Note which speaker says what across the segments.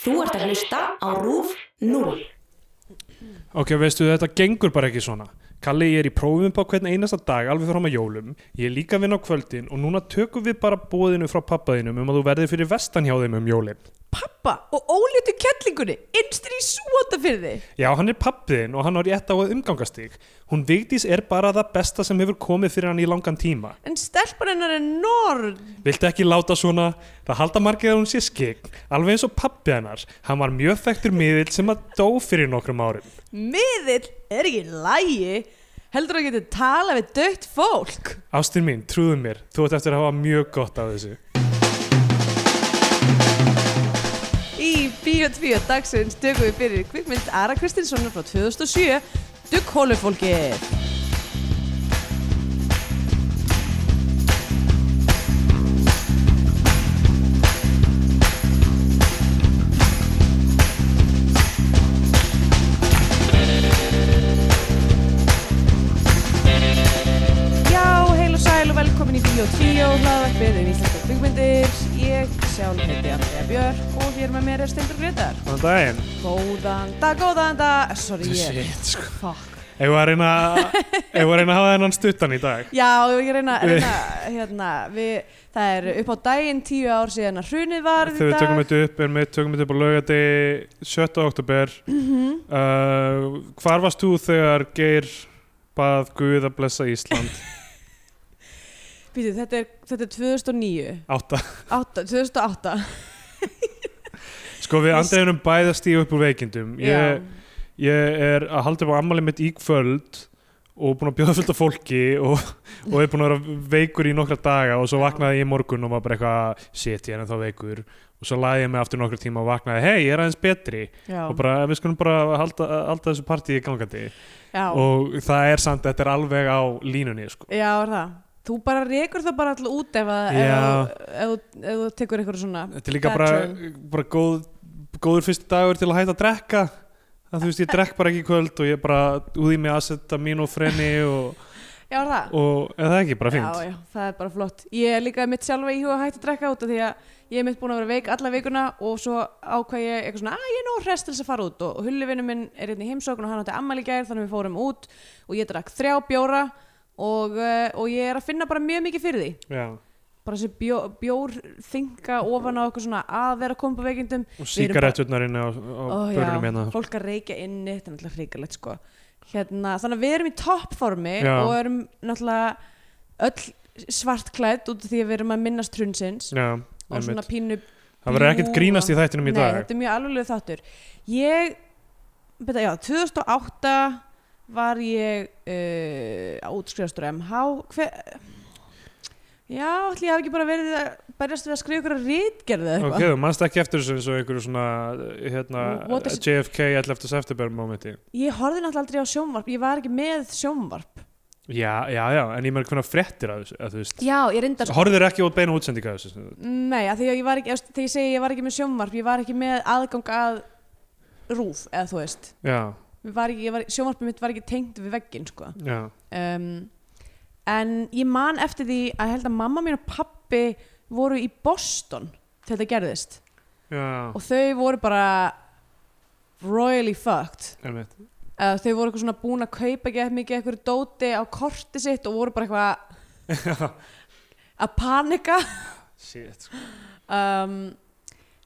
Speaker 1: Þú ert að hlusta á RÚF 0.
Speaker 2: Ok, veistu, þetta gengur bara ekki svona. Kalli, ég er í prófum upp á hvern einasta dag, alveg fram að jólum. Ég er líka að vinna á kvöldin og núna tökum við bara bóðinu frá pappaðinum um að þú verðir fyrir vestan hjá þeim um jólin.
Speaker 3: Pappa og ólítu kettlingunni innstur í súota fyrir þig
Speaker 2: Já, hann er pappiðin og hann á rétt á að umgangast þig. Hún Vigdís er bara það besta sem hefur komið fyrir hann í langan tíma.
Speaker 3: En stelpan hennar er norn
Speaker 2: Viltu ekki láta svona? Það halda margir að hún sé skikk, alveg eins og pappi hennar. Hann var mjög þekktur miðill sem að dó fyrir nokkrum árum.
Speaker 3: Miðill er ekki lægi Heldur að getur talað við dött fólk
Speaker 2: Ástin mín, trúðu mér, þú ert eftir að hafa mjög gott af þessu.
Speaker 3: Í Bíó 2 dagsins tökum við fyrir kvikmynd Ara Kristinssonar frá 2007 Dugghólufólkið Já, heil og sæl og velkomin í Bíó 2 hlaðvarpið um íslenska kvikmyndir Ég sjálf heiti Andrea Björk og hér með mér er Steindur Gretar
Speaker 2: Þannig daginn.
Speaker 3: Góðan dag, góðan dag Sorry, ég
Speaker 2: sko.
Speaker 3: Fuck
Speaker 2: Ef við að reyna ef við að reyna að hafa þennan stuttan í dag.
Speaker 3: Já, ég reyna, reyna hérna, við, það er upp á daginn tíu ár síðan að hrunið var
Speaker 2: Þegar við tökum þetta upp, en við tökum þetta upp á laugati 7. oktober. uh, hvar varst þú þegar Geir bað Guð að blessa Ísland?
Speaker 3: Býtu, þetta, er, þetta er 2009,
Speaker 2: Átta.
Speaker 3: átta, 2008
Speaker 2: Sko við andreðinum bæði að stíða upp úr veikindum. Ég,
Speaker 3: Já.
Speaker 2: ég er að halda upp á ammali mitt í kvöld og búin að bjóða fullt af fólki og, og er búin að vera veikur í nokkra daga og svo vaknaði ég í morgun og var bara eitthvað shit, ég er ennþá veikur og svo lagði ég mig aftur nokkra tíma og vaknaði hei, ég er aðeins betri
Speaker 3: Já,
Speaker 2: og bara við skulum bara halda, halda þessu partíi gangandi
Speaker 3: já,
Speaker 2: og það er samt, þetta er alveg á línunni sko.
Speaker 3: já, er það Þú bara rekur það bara alltaf út ef, að, ef,
Speaker 2: Já.
Speaker 3: að, ef, þú- ef þú tekur eitthvað svona
Speaker 2: þetta er líka
Speaker 3: Bad
Speaker 2: bara, bara góð, góður fyrsti dagur til að hætta að drekka það þú veist, ég drekk bara ekki í kvöld og ég bara úði mig að setja mín og freni og,
Speaker 3: Já, er það
Speaker 2: og eða það ekki, bara fínt
Speaker 3: Já, já, það er bara flott Ég er líka mitt sjálfa í huga hægt að drekka út af því að ég er mitt búin að vera veik alla vikuna og svo ákvað ég eitthvað svona að ég er nóg hress til þess að fara út og hullivinu minn er hérna í heimsókn og hann átti ammæli í gær þannig við fórum út og ég drakk þrjá bjóra og, eh, og ég er að finna bara mjög mikið fyrir því
Speaker 2: Já.
Speaker 3: bara þessi bjó, bjór þinga ofan á okkur svona að vera að koma á veikindum
Speaker 2: og
Speaker 3: Við erum bara-
Speaker 2: síkaretturnar inn á, á
Speaker 3: Ó, já,
Speaker 2: börunum hérna
Speaker 3: fólk að reykja inni þetta er náttúrulega hrikalegt sko hérna, þannig að við erum í toppformi
Speaker 2: Já.
Speaker 3: og erum náttúrulega öll svartklætt út af því að við erum að minnast hrunsins
Speaker 2: já,
Speaker 3: og svona
Speaker 2: einmitt.
Speaker 3: pínu
Speaker 2: það verður ekkert
Speaker 3: bljúga-
Speaker 2: grínast í þættinum í
Speaker 3: nei,
Speaker 2: dag
Speaker 3: þetta er mjög alveg þáttur ég, beta, já, 2008 var ég uh, á útskrifastur MH hver já, ætli ég hafi ekki bara verið að berjast við að skrifa ykkur að rítgerðu eða
Speaker 2: ok,
Speaker 3: eitthvað
Speaker 2: þú mannst ekki eftir þessu eins og einhverju svona hérna,
Speaker 3: What is it-
Speaker 2: JFK 11. september momenti
Speaker 3: ég horfði náttúrulega aldrei á sjónvarp ég var ekki með sjónvarp
Speaker 2: Já, já, já, en ég meður hvernig fréttir að þessu, að þú veist
Speaker 3: já, ég reyndar
Speaker 2: Horður ekki út beina útsendinga að þessu sko.
Speaker 3: Nei, að því að ég var ekki, eða, þegar ég segi ég var ekki með sjónvarp, ég var ekki með aðgang að rúf, eða þú veist.
Speaker 2: Já,
Speaker 3: Ég var Ekki, ég var, sjónvarpið mitt var ekki tengt við vegginn, sko.
Speaker 2: já,
Speaker 3: Um, en ég man eftir því að ég held að mamma mín og pappi voru í Boston þegar þetta gerðist.
Speaker 2: já
Speaker 3: Og þau voru bara royally fucked.
Speaker 2: Einmitt.
Speaker 3: Eða, þau voru eitthvað svona búin að kaupa gett mikið eitthvað dóti á korti sitt og voru bara eitthvað að panika.
Speaker 2: Shit
Speaker 3: um,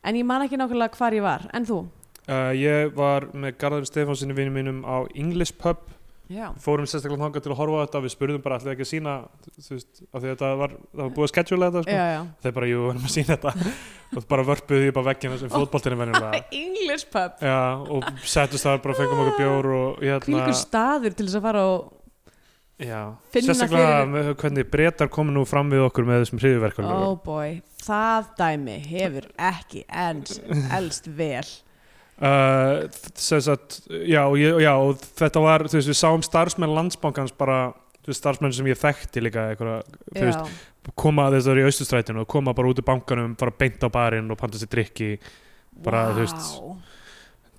Speaker 3: en ég man ekki nákvæmlega hvar ég var en þú?
Speaker 2: uh, Ég var með Garðar Stefánsinni vinum mínum á English pub
Speaker 3: Já.
Speaker 2: Fórum sérstaklega þangað til að horfa á þetta Við spurðum bara allir ekki að sína Þú veist, af því að þetta var, það var búið að schedule þetta sko.
Speaker 3: Já, já.
Speaker 2: Þeir bara, jú, við erum að sína þetta Og bara vörpuðu því bara veggina
Speaker 3: Oh
Speaker 2: sem fótboltinu venjulega
Speaker 3: English pub
Speaker 2: Já, og settust þar bara fengum okkur bjór og hérna
Speaker 3: Hvílíkur staður til þess að fara og
Speaker 2: Já,
Speaker 3: finna
Speaker 2: sérstaklega
Speaker 3: fyrir-
Speaker 2: með hvernig breytar komi nú fram við okkur með þessum hriðverkulögum
Speaker 3: oh boy, það dæmi hefur ekki ens, elst vel
Speaker 2: uh, þess að, já, og ég, já, og þetta var, þú veist, við sáum starfsmenn landsbankans bara, þú veist, starfsmenn sem ég þekkti líka, einhverja, þú veist,
Speaker 3: Já,
Speaker 2: koma þess að vera í austustrætinu og koma bara út úr bankanum, fara beint á barinn og panta sér drikki, bara, þú veist-
Speaker 3: Vá.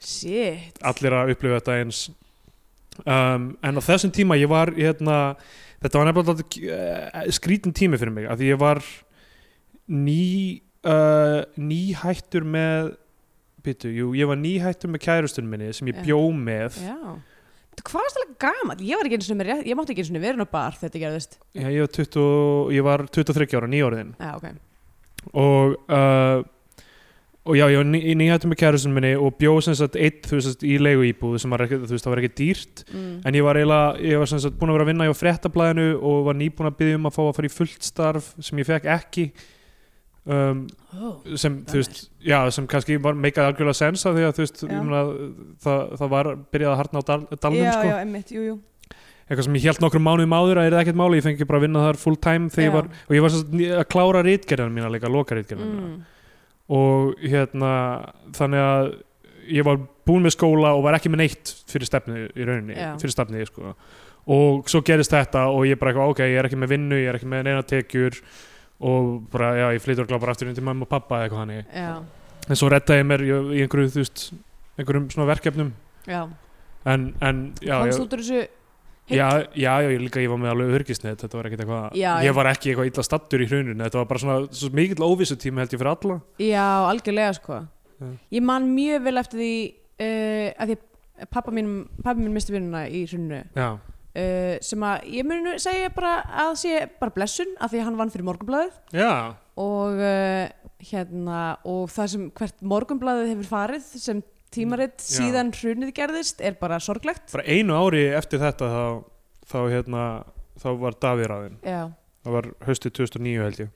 Speaker 3: Shit
Speaker 2: allir að upplifa þetta eins um, en á þessum tíma ég var hérna, þetta var nefnilega dálítið, eh, skrítin tími fyrir mig að því ég var ný uh, nýhættur eh, með Pítu, jú, ég var nýhættur með kærustun minni sem ég
Speaker 3: Já.
Speaker 2: bjó með
Speaker 3: Já. Þetta hvað er stæðlega gaman? Ég var ekki einu sinni með rétt, ég mátti ekki einu sinni vera inn á bar þegar þetta gerðist.
Speaker 2: Já, ég, var 20, og- ég var 23 ára, nýjóriðin
Speaker 3: Já, ok.
Speaker 2: og, uh, og já, ég var ný, nýhættur með kærustun minni og bjó sem sagt eitt þú veist, í leigu íbúð sem var ekki, þú veist, það var ekki dýrt
Speaker 3: Mm.
Speaker 2: en ég var eiginlega, ég var sem sagt búin að vera að vinna hjá fréttablaðinu og var nýbúin að byggja um að fá að fara í fullt starf sem ég fekk ekki um,
Speaker 3: Oh.
Speaker 2: sem,
Speaker 3: Bummer.
Speaker 2: þú veist, já, sem kannski var meikað algjörlega sensa því að þú veist,
Speaker 3: Já.
Speaker 2: ég meina, það, það var byrjað að harna á dal, dalnum
Speaker 3: já,
Speaker 2: sko.
Speaker 3: já, emmitt, jú, jú.
Speaker 2: eitthvað sem ég held nokkrum mánuðum áður að er ekkert máli, ég fengi bara að vinna þar full time þegar ég
Speaker 3: Já.
Speaker 2: var, og ég var svo, að klára rítgerðan mína líka, loka rítgerðan mína
Speaker 3: Mm.
Speaker 2: og hérna, þannig að ég var búinn með skóla og var ekki með neitt fyrir stefni í rauninni,
Speaker 3: Já.
Speaker 2: fyrir stefni sko. og svo gerist þetta og ég bara eitthvað, ok, ég er ekki með vinnu, ég er ekki með neina tekjur og bara, já, ég flytur glápar aftur inn til mamma og pappa eða eitthvað hannig
Speaker 3: Já,
Speaker 2: en svo reddaði ég mér í í einhverju, þú veist einhverjum svona verkefnum
Speaker 3: já.
Speaker 2: en, en já, ég-
Speaker 3: Komst út úr þessu Heill.
Speaker 2: Já, já, já, ég líka ég var með alveg örgisnett, þetta var ekkert eitthvað,
Speaker 3: Já, já.
Speaker 2: ég var ekki eitthvað illa stattur í hrauninu, þetta var bara svona svo mikill óvissu tíma held ég fyrir alla.
Speaker 3: Já, algjörlega sko
Speaker 2: Já.
Speaker 3: Ég man mjög vel eftir því uh, að því að pappa mín, pappa mín misti vinnuna í hrunnu
Speaker 2: Já,
Speaker 3: uh, sem að ég munu segja bara að sé bara blessun að því að hann vann fyrir morgunblæðið
Speaker 2: já,
Speaker 3: og uh, hérna og það sem hvert morgunblæðið hefur farið sem tímaritt
Speaker 2: Mm, Já.
Speaker 3: síðan hrunnið gerðist er bara sorglegt
Speaker 2: bara einu ári eftir þetta þá, þá hérna, þá var Davíð ráðinn,
Speaker 3: Já,
Speaker 2: það var haustið 2009 held ég.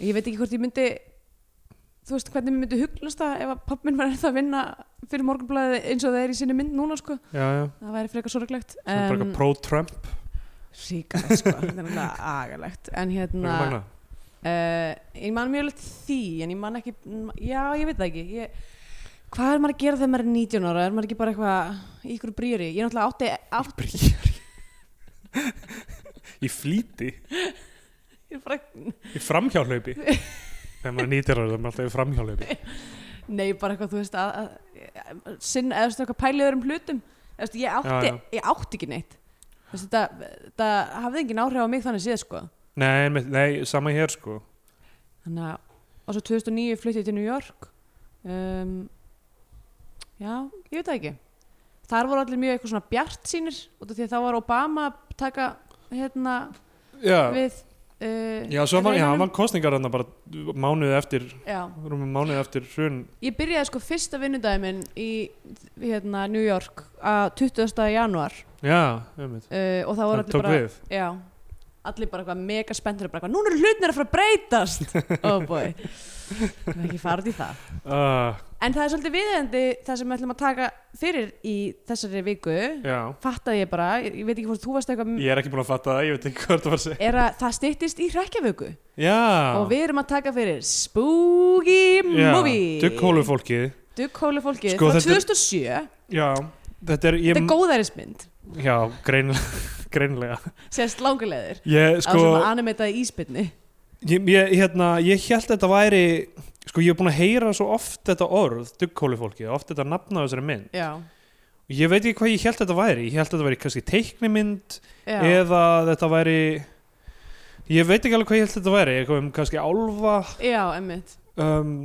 Speaker 3: ég veit ekki hvort ég myndi þú veist hvernig mér myndi huglast það ef að pappa minn var ennþá að vinna fyrir morgunblæðið eins og það er í sinni mynd núna sko
Speaker 2: Já, já,
Speaker 3: það væri frekar sorglegt
Speaker 2: sem bara
Speaker 3: En-
Speaker 2: eitthvað pro-Trump,
Speaker 3: Ríkalegt sko, þetta er náttúrulega agalegt En
Speaker 2: eitthvað
Speaker 3: hérna uh,
Speaker 2: magna.
Speaker 3: Ég man mjög leitt því En ég man ekki, já ég veit það ekki ég, Hvað er maður að gera þegar maður er 19 ára? Er maður ekki bara eitthvað í ykkur brýri? Ég náttúrulega átti, átti
Speaker 2: Brýr. í flýti,
Speaker 3: ég bara,
Speaker 2: í framhjálaupi. Þegar maður nýtir ára, það er maður alltaf í framhjálaupi.
Speaker 3: Nei, bara eitthvað, þú veist að, að, að Sinn, eða þú veist eitthvað pæliður um hlutum Þú veist, ég átti,
Speaker 2: Já, já.
Speaker 3: ég átti ekki neitt Þú veist, þetta, þetta hafði engin áhrif á mig þannig séð sko
Speaker 2: Nei, einmitt, nei, sama hér sko.
Speaker 3: Þannig að, og svo 2009 flutti ég til New York um, Já, ég veit það ekki Þar voru allir mjög eitthvað svona bjart sínir út af því að þá var Obama að taka hérna
Speaker 2: Já,
Speaker 3: við uh,
Speaker 2: Já, svo var, já,
Speaker 3: reifanum.
Speaker 2: var kostningar þarna bara mánuði eftir,
Speaker 3: Já,
Speaker 2: rúmum mánuði eftir hrun,
Speaker 3: ég byrjaði sko fyrsta vinnudaginn minn í hérna New York að 20. janúar
Speaker 2: já, einmitt,
Speaker 3: uh, og þá
Speaker 2: það
Speaker 3: voru allir
Speaker 2: tók
Speaker 3: bara
Speaker 2: við.
Speaker 3: Já, allir bara eitthvað mega spenntur og bara eitthvað, núna eru hlutinir að fara að breytast Oh boy, það er ekki farið í það
Speaker 2: Uh,
Speaker 3: En það er svolítið viðeigandi það sem við ætlum að taka fyrir í þessari viku
Speaker 2: já,
Speaker 3: fattaði ég bara, ég, ég veit ekki hvort þú varst eitthvað
Speaker 2: ég er ekki búin að fatta það, ég veit ekki hvað það var að segja.
Speaker 3: er að það styttist í hrekkjavöku
Speaker 2: Já,
Speaker 3: og við erum að taka fyrir Spooky
Speaker 2: já,
Speaker 3: Movie
Speaker 2: dugghólu fólkið.
Speaker 3: Dugghólu fólkið
Speaker 2: Sko,
Speaker 3: frá
Speaker 2: þetta er-
Speaker 3: 2007
Speaker 2: Já, þetta er, ég,
Speaker 3: þetta er góðærismynd
Speaker 2: já, greinlega, greinlega.
Speaker 3: sérst langulegðir
Speaker 2: Ég,
Speaker 3: á
Speaker 2: sko,
Speaker 3: svona animetaði íspinni
Speaker 2: ég, ég, hérna, ég held þetta væri, sko, ég hef búin að heyra svo oft þetta orð, dugghólu fólkið, oft þetta nafna á þessari mynd.
Speaker 3: Já,
Speaker 2: Ég veit ekki hvað ég held þetta væri, ég held þetta væri kannski teiknimynd,
Speaker 3: já,
Speaker 2: eða þetta væri ég veit ekki alveg hvað ég held þetta væri eitthvað um kannski álfa
Speaker 3: já emmitt
Speaker 2: um,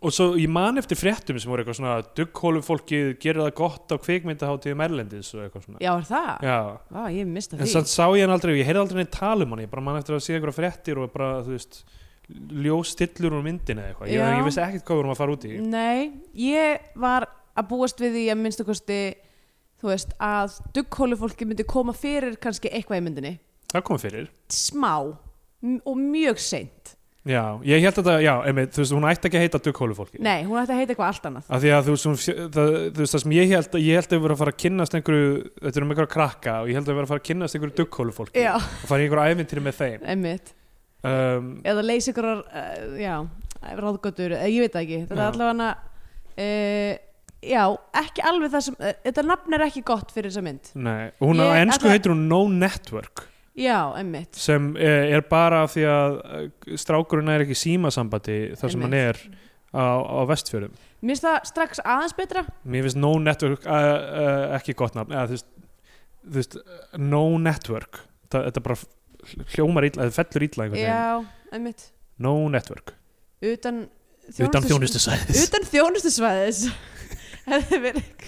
Speaker 2: og svo ég man eftir fréttum sem voru eitthvað svona dugghólu fólkið gerir það gott á kvikmyndaháttíðum erlendis og eitthvað svona
Speaker 3: Já, er það?
Speaker 2: Já.
Speaker 3: Vá, ég mista
Speaker 2: en
Speaker 3: því
Speaker 2: sann sá ég hann aldrei, ég heyrði aldrei neitt tala um hann ég bara man eftir að sé eitthvað fréttir og bara þú veist ljóstillur úr myndinni eða eitthvað, ég,
Speaker 3: Já. Mm.
Speaker 2: ég vissi ekkert hvað við vorum að fara út í
Speaker 3: Nei, ég var að búast við því að minnstu kosti þú veist, að dugghólu fólki myndi koma fyrir kannski eitthvað í myndinni
Speaker 2: það kom fyrir
Speaker 3: smá m- og mjög seint
Speaker 2: Já, ég held þetta, já, einmitt, þú veist, hún ætti ekki að heita dugghólu fólkið
Speaker 3: Nei, hún ætti að heita eitthvað allt annað
Speaker 2: Af því að þú veist, hún fjö- það, þú veist það sem ég held ég held að vera að fara að kynnast einhverju þetta er um einhverja krakka og ég held að vera að fara að kynnast einhverju dugghólu fólki
Speaker 3: Já,
Speaker 2: og fara í einhverju ævintýri með þeim
Speaker 3: einmitt
Speaker 2: um,
Speaker 3: eða leysi ykkur uh, já, ráðgötur, eh, ég veit það ekki þetta
Speaker 2: Já.
Speaker 3: er allavega uh, já, ekki alveg það sem uh, þetta nafn er ekki gott fyrir þessa mynd
Speaker 2: Nei, og hún
Speaker 3: Ég-
Speaker 2: á ennsku
Speaker 3: þetta-
Speaker 2: heitir hún No Network
Speaker 3: Já, einmitt
Speaker 2: sem eh, er, er bara af því að eh, strákurinn er ekki í símasambandi þar sem hann er
Speaker 3: Einmitt.
Speaker 2: á, á vestfjörðum
Speaker 3: Mér finnst það strax aðeins betra
Speaker 2: Mér finnst No Network uh, uh, ekki gott nafn eða, þú veist, þú veist, No Network Þa, þetta bara hljómar illa, þetta fellur illa einhvern veginn
Speaker 3: Já, einmitt
Speaker 2: No Network
Speaker 3: utan
Speaker 2: utan þjónustusæðis
Speaker 3: utan þjónustusvæðis hefði verið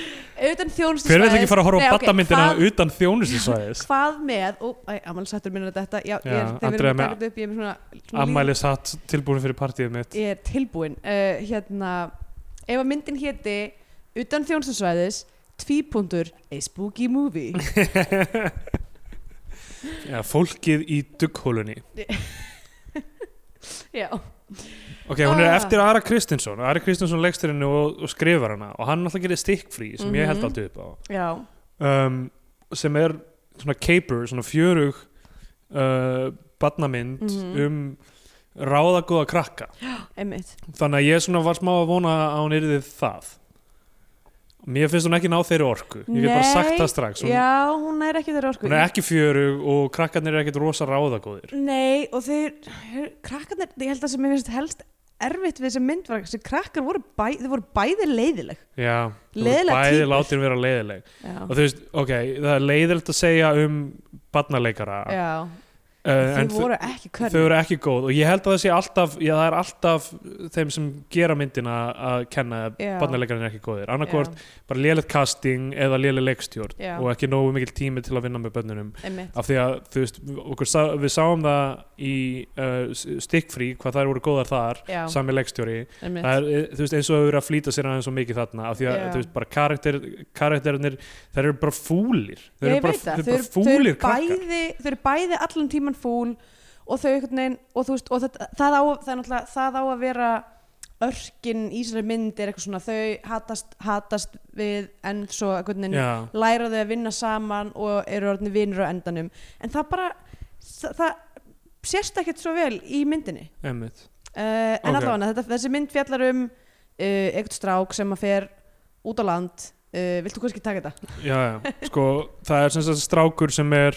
Speaker 3: utan þjónustusvæðis
Speaker 2: hver vil ekki fara að horfa á
Speaker 3: Nei,
Speaker 2: okay,
Speaker 3: ok, hvað-
Speaker 2: utan þjónustusæðis
Speaker 3: hvað með ó, æ, ammæli sattur minna þetta já, ég
Speaker 2: Já,
Speaker 3: er, þegar við
Speaker 2: Andrea
Speaker 3: erum að
Speaker 2: með-
Speaker 3: taka þetta upp ég er, með svona, svona
Speaker 2: ammæli satt tilbúin fyrir partíið mitt
Speaker 3: ég er tilbúin uh, hérna, ef að myndin héti utan þjónustusvæðis tvípundur, a spooky movie
Speaker 2: Já, fólkið í dugghólunni
Speaker 3: já,
Speaker 2: ok, hún er
Speaker 3: Ah.
Speaker 2: eftir Ara Kristinsson Ari Kristinsson leiksturinnu og, og skrifar hana og hann alltaf gerir stikkfrí sem ég held
Speaker 3: Mhm.
Speaker 2: alltaf upp á
Speaker 3: já,
Speaker 2: um, sem er svona caper, svona fjörug uh, badnamynd
Speaker 3: Mhm.
Speaker 2: um ráðagóða krakka
Speaker 3: einmitt
Speaker 2: þannig að ég svona var smá að vona að hún yrði það mér finnst hún ekki ná þeirri orku ég get bara
Speaker 3: Nei,
Speaker 2: sagt það strax hún,
Speaker 3: já, hún er ekki þeirra sko. orku
Speaker 2: hún er ekki fjörug og krakkarnir er ekkit rosa ráðagóðir
Speaker 3: Nei, og þeir, þeir- krakkarnir, ég held að sem ég finnst helst erfitt við þessi mynd var þessi krakkar voru, bæ, þeir voru bæði leiðileg.
Speaker 2: já, þú veist,
Speaker 3: Leiðilegar
Speaker 2: bæði
Speaker 3: týpur.
Speaker 2: látin vera leiðileg
Speaker 3: Já,
Speaker 2: og þú veist, ok, það er leiðilegt að segja um badnaleikara
Speaker 3: já.
Speaker 2: uh, en
Speaker 3: þeir
Speaker 2: þau-
Speaker 3: voru ekki körn.
Speaker 2: þau eru ekki góð og ég held að það sé alltaf já, það er alltaf þeim sem gera myndina að kenna að
Speaker 3: Já.
Speaker 2: barnaleikarinn er ekki góðir annarkvort bara lélegt casting eða léleg leikstjórn
Speaker 3: Já.
Speaker 2: og ekki nógu mikil tími til að vinna með bönnunum
Speaker 3: Já, einmitt.
Speaker 2: af því að þú veist okkur, sá- við sáum það í uh, stikkfrí hvað þær voru góðar þar
Speaker 3: Já,
Speaker 2: sami leikstjóri
Speaker 3: einmitt.
Speaker 2: það er eh, þú veist, eins og hefur verið að flýta sér aðeins svo mikið þarna af því að
Speaker 3: Já.
Speaker 2: þú veist bara karakter, karakterinir þær eru bara fúlir þær
Speaker 3: Ég
Speaker 2: eru bara,
Speaker 3: veit það,
Speaker 2: þau eru
Speaker 3: þau
Speaker 2: bara
Speaker 3: eru- þau
Speaker 2: fúlir
Speaker 3: eru
Speaker 2: krakkar
Speaker 3: bæði, þau eru bæði allan tíman fúl og þau einhvern veginn, og þú veist, og það, það, á, það, er náttúrulega- það á að vera örkin í sér mynd er eitthvað svona, þau hatast, hatast við en svo einhvern veginn
Speaker 2: Já.
Speaker 3: læra þau að vinna saman og eru orðinni vinur á endanum en það bara það, það sérst ekkert svo vel í myndinni
Speaker 2: Einmitt.
Speaker 3: uh,
Speaker 2: Ok.
Speaker 3: en allavega þetta, þessi mynd fjallar um uh, eitthvað strák sem að fer út á land uh, viltu kannski taka þetta?
Speaker 2: já, já, sko það er sem sagt strákur sem er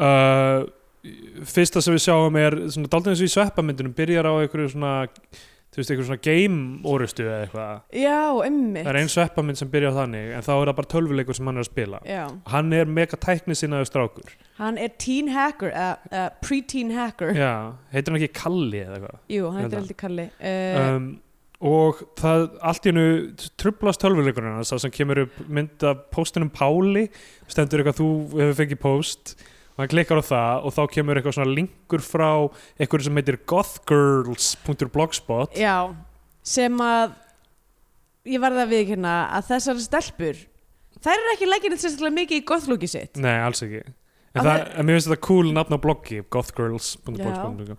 Speaker 2: uh, fyrsta sem við sjáum er svona daldið eins og í sveppamyndunum byrjar á einhverju svona þú veist, einhverju svona game orustu eða eitthvað
Speaker 3: já, emmi
Speaker 2: það er ein sveppamynd sem byrjar þannig en þá er það bara tölvuleikur sem hann er að spila
Speaker 3: já.
Speaker 2: hann er mega tækni sinnaður strákur
Speaker 3: hann er teen hacker uh, uh, pre-teen hacker
Speaker 2: já, heitir hann ekki Kalli eða eitthvað
Speaker 3: jú, hann
Speaker 2: Hérna.
Speaker 3: heitir heldur Kalli uh,
Speaker 2: um, og það allt í hennu trublast tölvuleikurinn hans það sem kemur upp mynd af póstinum Páli stendur eitthvað þú hefur fengið póst og hann klikkar á það og þá kemur eitthvað svona linkur frá eitthvað sem heitir gothgirls.blogspot
Speaker 3: já, sem að ég varði að viðkynna að þessar stelpur þær eru ekki legginni sérstaklega mikið í gottflóki sitt
Speaker 2: nei, alls ekki en,
Speaker 3: Á,
Speaker 2: það,
Speaker 3: það-
Speaker 2: en mér finnst þetta cool nafn á bloggi gothgirls.blogspot uh,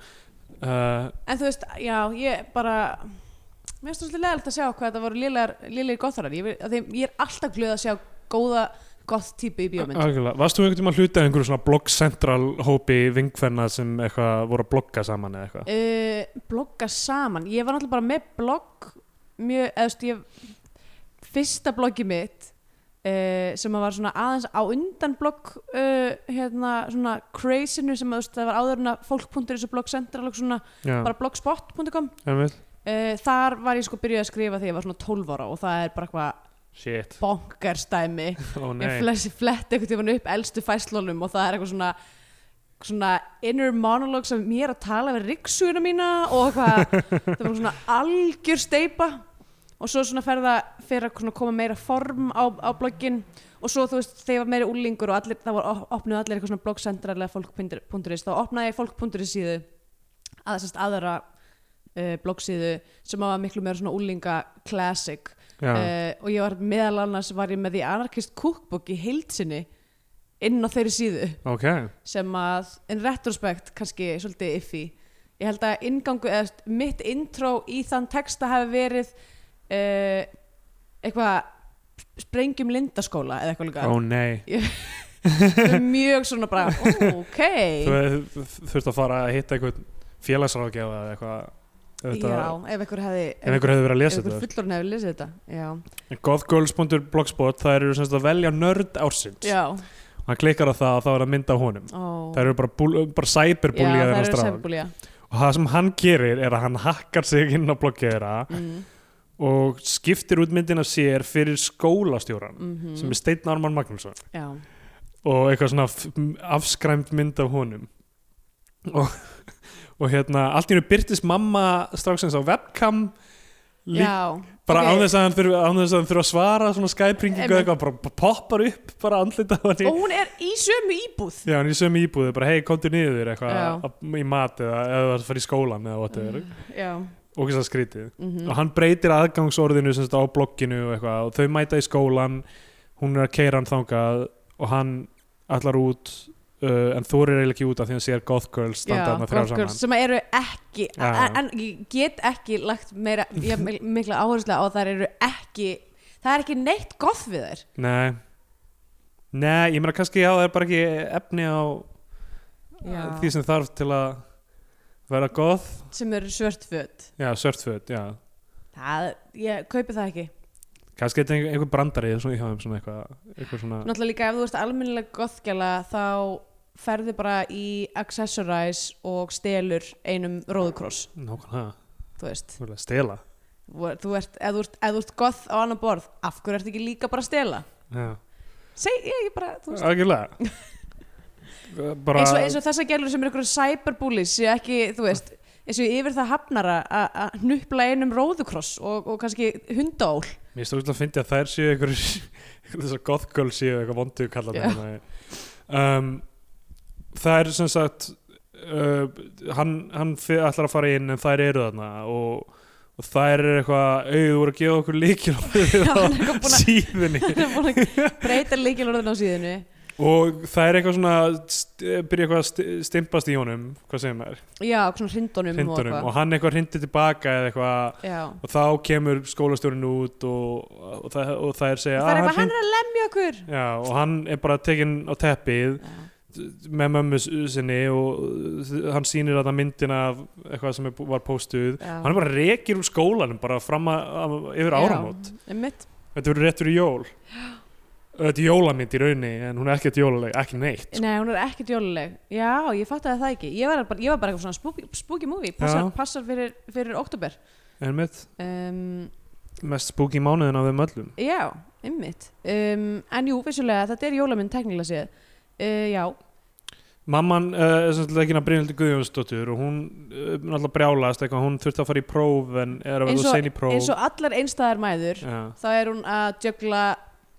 Speaker 3: En þú veist, já, ég bara Mér finnst það svolítið leðalegt að sjá hvað þetta voru lélir gotharar ég, vil- af því ég er alltaf glöð að sjá góða goth típu í bíómynd
Speaker 2: algjörlega. varst þú einhvern tímann að hluta af einhverju svona blogcentral hópi vingfennar sem eitthvað voru að blogga saman eða eitthvað
Speaker 3: uh, Blogga saman Ég var náttúrulega bara með blogg Mjög, eða þú veist, ég Fyrsta bloggi mitt uh, sem að var svona aðeins á undan blogg uh, hérna svona crazinu sem að þú veist, það var áður en að fólk.is og bloggcentral og svona
Speaker 2: já,
Speaker 3: bara blogspot.com
Speaker 2: einmitt.
Speaker 3: uh, þar var ég sko byrjuð að skrifa þegar ég var svona 12 ára og það er bara eitthvað
Speaker 2: shit,
Speaker 3: bonkerstæmi
Speaker 2: ó
Speaker 3: ég
Speaker 2: nei
Speaker 3: flessi flett einhvern tímann upp elstu fæslunum og það er eitthvað svona svona inner monologue sem mér að tala við ryggsuguna mína og eitthvað það var svona algjör steipa og svo svona ferða fyrir að svona koma meira form á, á bloggin og svo þú veist þegar ég var meira úlingur og allir, það var opnuð allir eitthvað svona bloggsendrarlega fólk.is þá opnaði ég fólk.is síðu að þessast aðra uh, bloggsíðu sem var miklu meira svona úlinga classic
Speaker 2: Já.
Speaker 3: uh, og ég var meðal annars var ég með því anarkist cookbook í heilsinni inn á þeirri síðu
Speaker 2: Ok,
Speaker 3: sem að in retrospect kannski svolítið iffi ég held að ingangu eða st- mitt intro í þann texta hafi verið uh, eitthvað sprengjum lindaskóla eða eitthvað líka
Speaker 2: ó nei
Speaker 3: Þetta er mjög svona bara ó, ok
Speaker 2: Þú þurft að fara að hitta einhvern félagsráðgjafa eða eitthvað
Speaker 3: já,
Speaker 2: auðvitað-
Speaker 3: ef einhver hefði
Speaker 2: Ef einhver hefði verið að
Speaker 3: ef
Speaker 2: lesa
Speaker 3: einhver
Speaker 2: þetta
Speaker 3: fullorinn hefði lesið þetta já,
Speaker 2: Gothgirls.blogspot, það eru semst að velja nörd ársins
Speaker 3: já.
Speaker 2: og Hann klikkar á það og þá er að mynda á honum
Speaker 3: Ó.
Speaker 2: Það eru bara, búl- bara cyberbúlja
Speaker 3: já, það
Speaker 2: þennan
Speaker 3: eru
Speaker 2: strafn
Speaker 3: sæmbúlja
Speaker 2: Og það sem hann gerir er að hann hakkar sig inn á bloggið þeirra
Speaker 3: mm.
Speaker 2: og skiptir út myndina sér fyrir skólastjóran
Speaker 3: mhm,
Speaker 2: sem er Steinn Arman Magnússon
Speaker 3: já.
Speaker 2: og eitthvað svona f- afskræmt mynd af honum og, og hérna, allt í hennu byrtist mamma stráksins á webcam líka,
Speaker 3: Já,
Speaker 2: bara
Speaker 3: ok.
Speaker 2: án þess að hann þurfa án þess að hann þurfa að svara svona Skype-ringingu
Speaker 3: Einmitt.
Speaker 2: eitthvað, bara bara poppar upp bara andlita á henni
Speaker 3: og hún er í sömu íbúð
Speaker 2: Já, hann er í sömu íbúðu, bara hei, komdu niður
Speaker 3: Já. Mm.
Speaker 2: eitthvað að- í mat eða eða það fara í skólan eða whatever,
Speaker 3: Já,
Speaker 2: og þess að skrítið
Speaker 3: mhm.
Speaker 2: og hann breytir aðgangsorðinu sem þetta á blogginu og eitthvað og þau mæta í skólan hún er að keira hann þangað og hann allar út uh, en þorir eiginlega ekki út af því hann sér Goth Girls standa
Speaker 3: Já,
Speaker 2: hann að
Speaker 3: Golf
Speaker 2: þrjá
Speaker 3: Girls
Speaker 2: saman
Speaker 3: sem eru ekki
Speaker 2: Já.
Speaker 3: en, en ég get ekki lagt meira, já, mikla áherslu á að þær eru ekki það er ekki neitt gott við þær
Speaker 2: Nei Nei, ég meina kannski já, það er bara ekki efni á
Speaker 3: Já.
Speaker 2: því sem þarf til að vera goth
Speaker 3: sem eru svört föt
Speaker 2: Já, sörtföt, já
Speaker 3: það, ég kaupi það ekki
Speaker 2: Kannski þetta er einhver- einhver brandari svona hjá þeim svona eitthvað, eitthvað svona
Speaker 3: náttúrulega líka ef þú ert almennilega gothgjala þá ferðu bara í accessorize og stelur einum róðkross,
Speaker 2: Nákvæmlega,
Speaker 3: þú veist
Speaker 2: þú vilja stela
Speaker 3: Þú- þú ert, ef, þú ert, ef þú ert goth á annan borð af hverju ert ekki líka bara að stela
Speaker 2: Já,
Speaker 3: seg, ég, ég bara, þú veist
Speaker 2: algjörlega Bara
Speaker 3: eins og, eins og þessar gælur sem eru ykkur cyberbullies séu ekki, þú veist, eins og yfir það hafnara að- að hnupla einum róðukross og, og kannski hundál
Speaker 2: Mér stóðum að fyndi að þær séu einhver þessar goth girls séu eitthvað vondu kallar
Speaker 3: Já.
Speaker 2: yeah. um, Það er sem sagt uh, hann, hann fe- ætlar að fara inn en þær eru þarna og, og þær eru eitthvað "Ey, þú voru að gefa okkur líkil
Speaker 3: Já, hann er eitthvað
Speaker 2: á
Speaker 3: búinn að-
Speaker 2: síðunni
Speaker 3: Það er búin að breyta líkilorðin á síðinu
Speaker 2: og það er eitthvað svona st- byrja eitthvað að st- stimpast í honum hvað segir maður,
Speaker 3: já, Um og svona hrindunum
Speaker 2: hindunum og, hann eitthvað hindi tilbaka eða eitthvað
Speaker 3: já
Speaker 2: og þá kemur skólastjórinn út og, og, það, og þær segja
Speaker 3: það er
Speaker 2: "Ah,
Speaker 3: eitthvað,
Speaker 2: hrin-
Speaker 3: hann er að lemja okkur
Speaker 2: Já, og hann er bara tekinn á teppið með mömmu sinni og uh, hann sýnir að það myndina af eitthvað sem er, bú- var póstuð
Speaker 3: Já.
Speaker 2: hann er bara rekir úr skólanum bara fram að, að, yfir áramót
Speaker 3: einmitt.
Speaker 2: þetta verður rétt fyrir jól þetta er jólamynd í raunni en hún er ekkert jólaleg, ekki neitt
Speaker 3: Nei, hún er ekkert jóluleg Já, ég fattaði það ekki Ég var bara, ég var bara eitthvað svona spooky, spooky movie Passar,
Speaker 2: Já.
Speaker 3: passar fyrir, fyrir oktober
Speaker 2: en mitt
Speaker 3: um,
Speaker 2: mest spooky mánuðin af þeim öllum
Speaker 3: Já, einmitt um, En jú, vissulega, þetta er jólaminn teknilega séð uh, Já,
Speaker 2: mamman uh, er sem sagt ekki að Brynhildur Guðjónsdóttur og hún uh, náttúrulega brjálast eitthvað, hún þurfti að fara í próf en er að
Speaker 3: Eins
Speaker 2: verða
Speaker 3: og-
Speaker 2: sein í próf
Speaker 3: eins og allar einstæðar mæður
Speaker 2: Já.
Speaker 3: þá er hún að djögla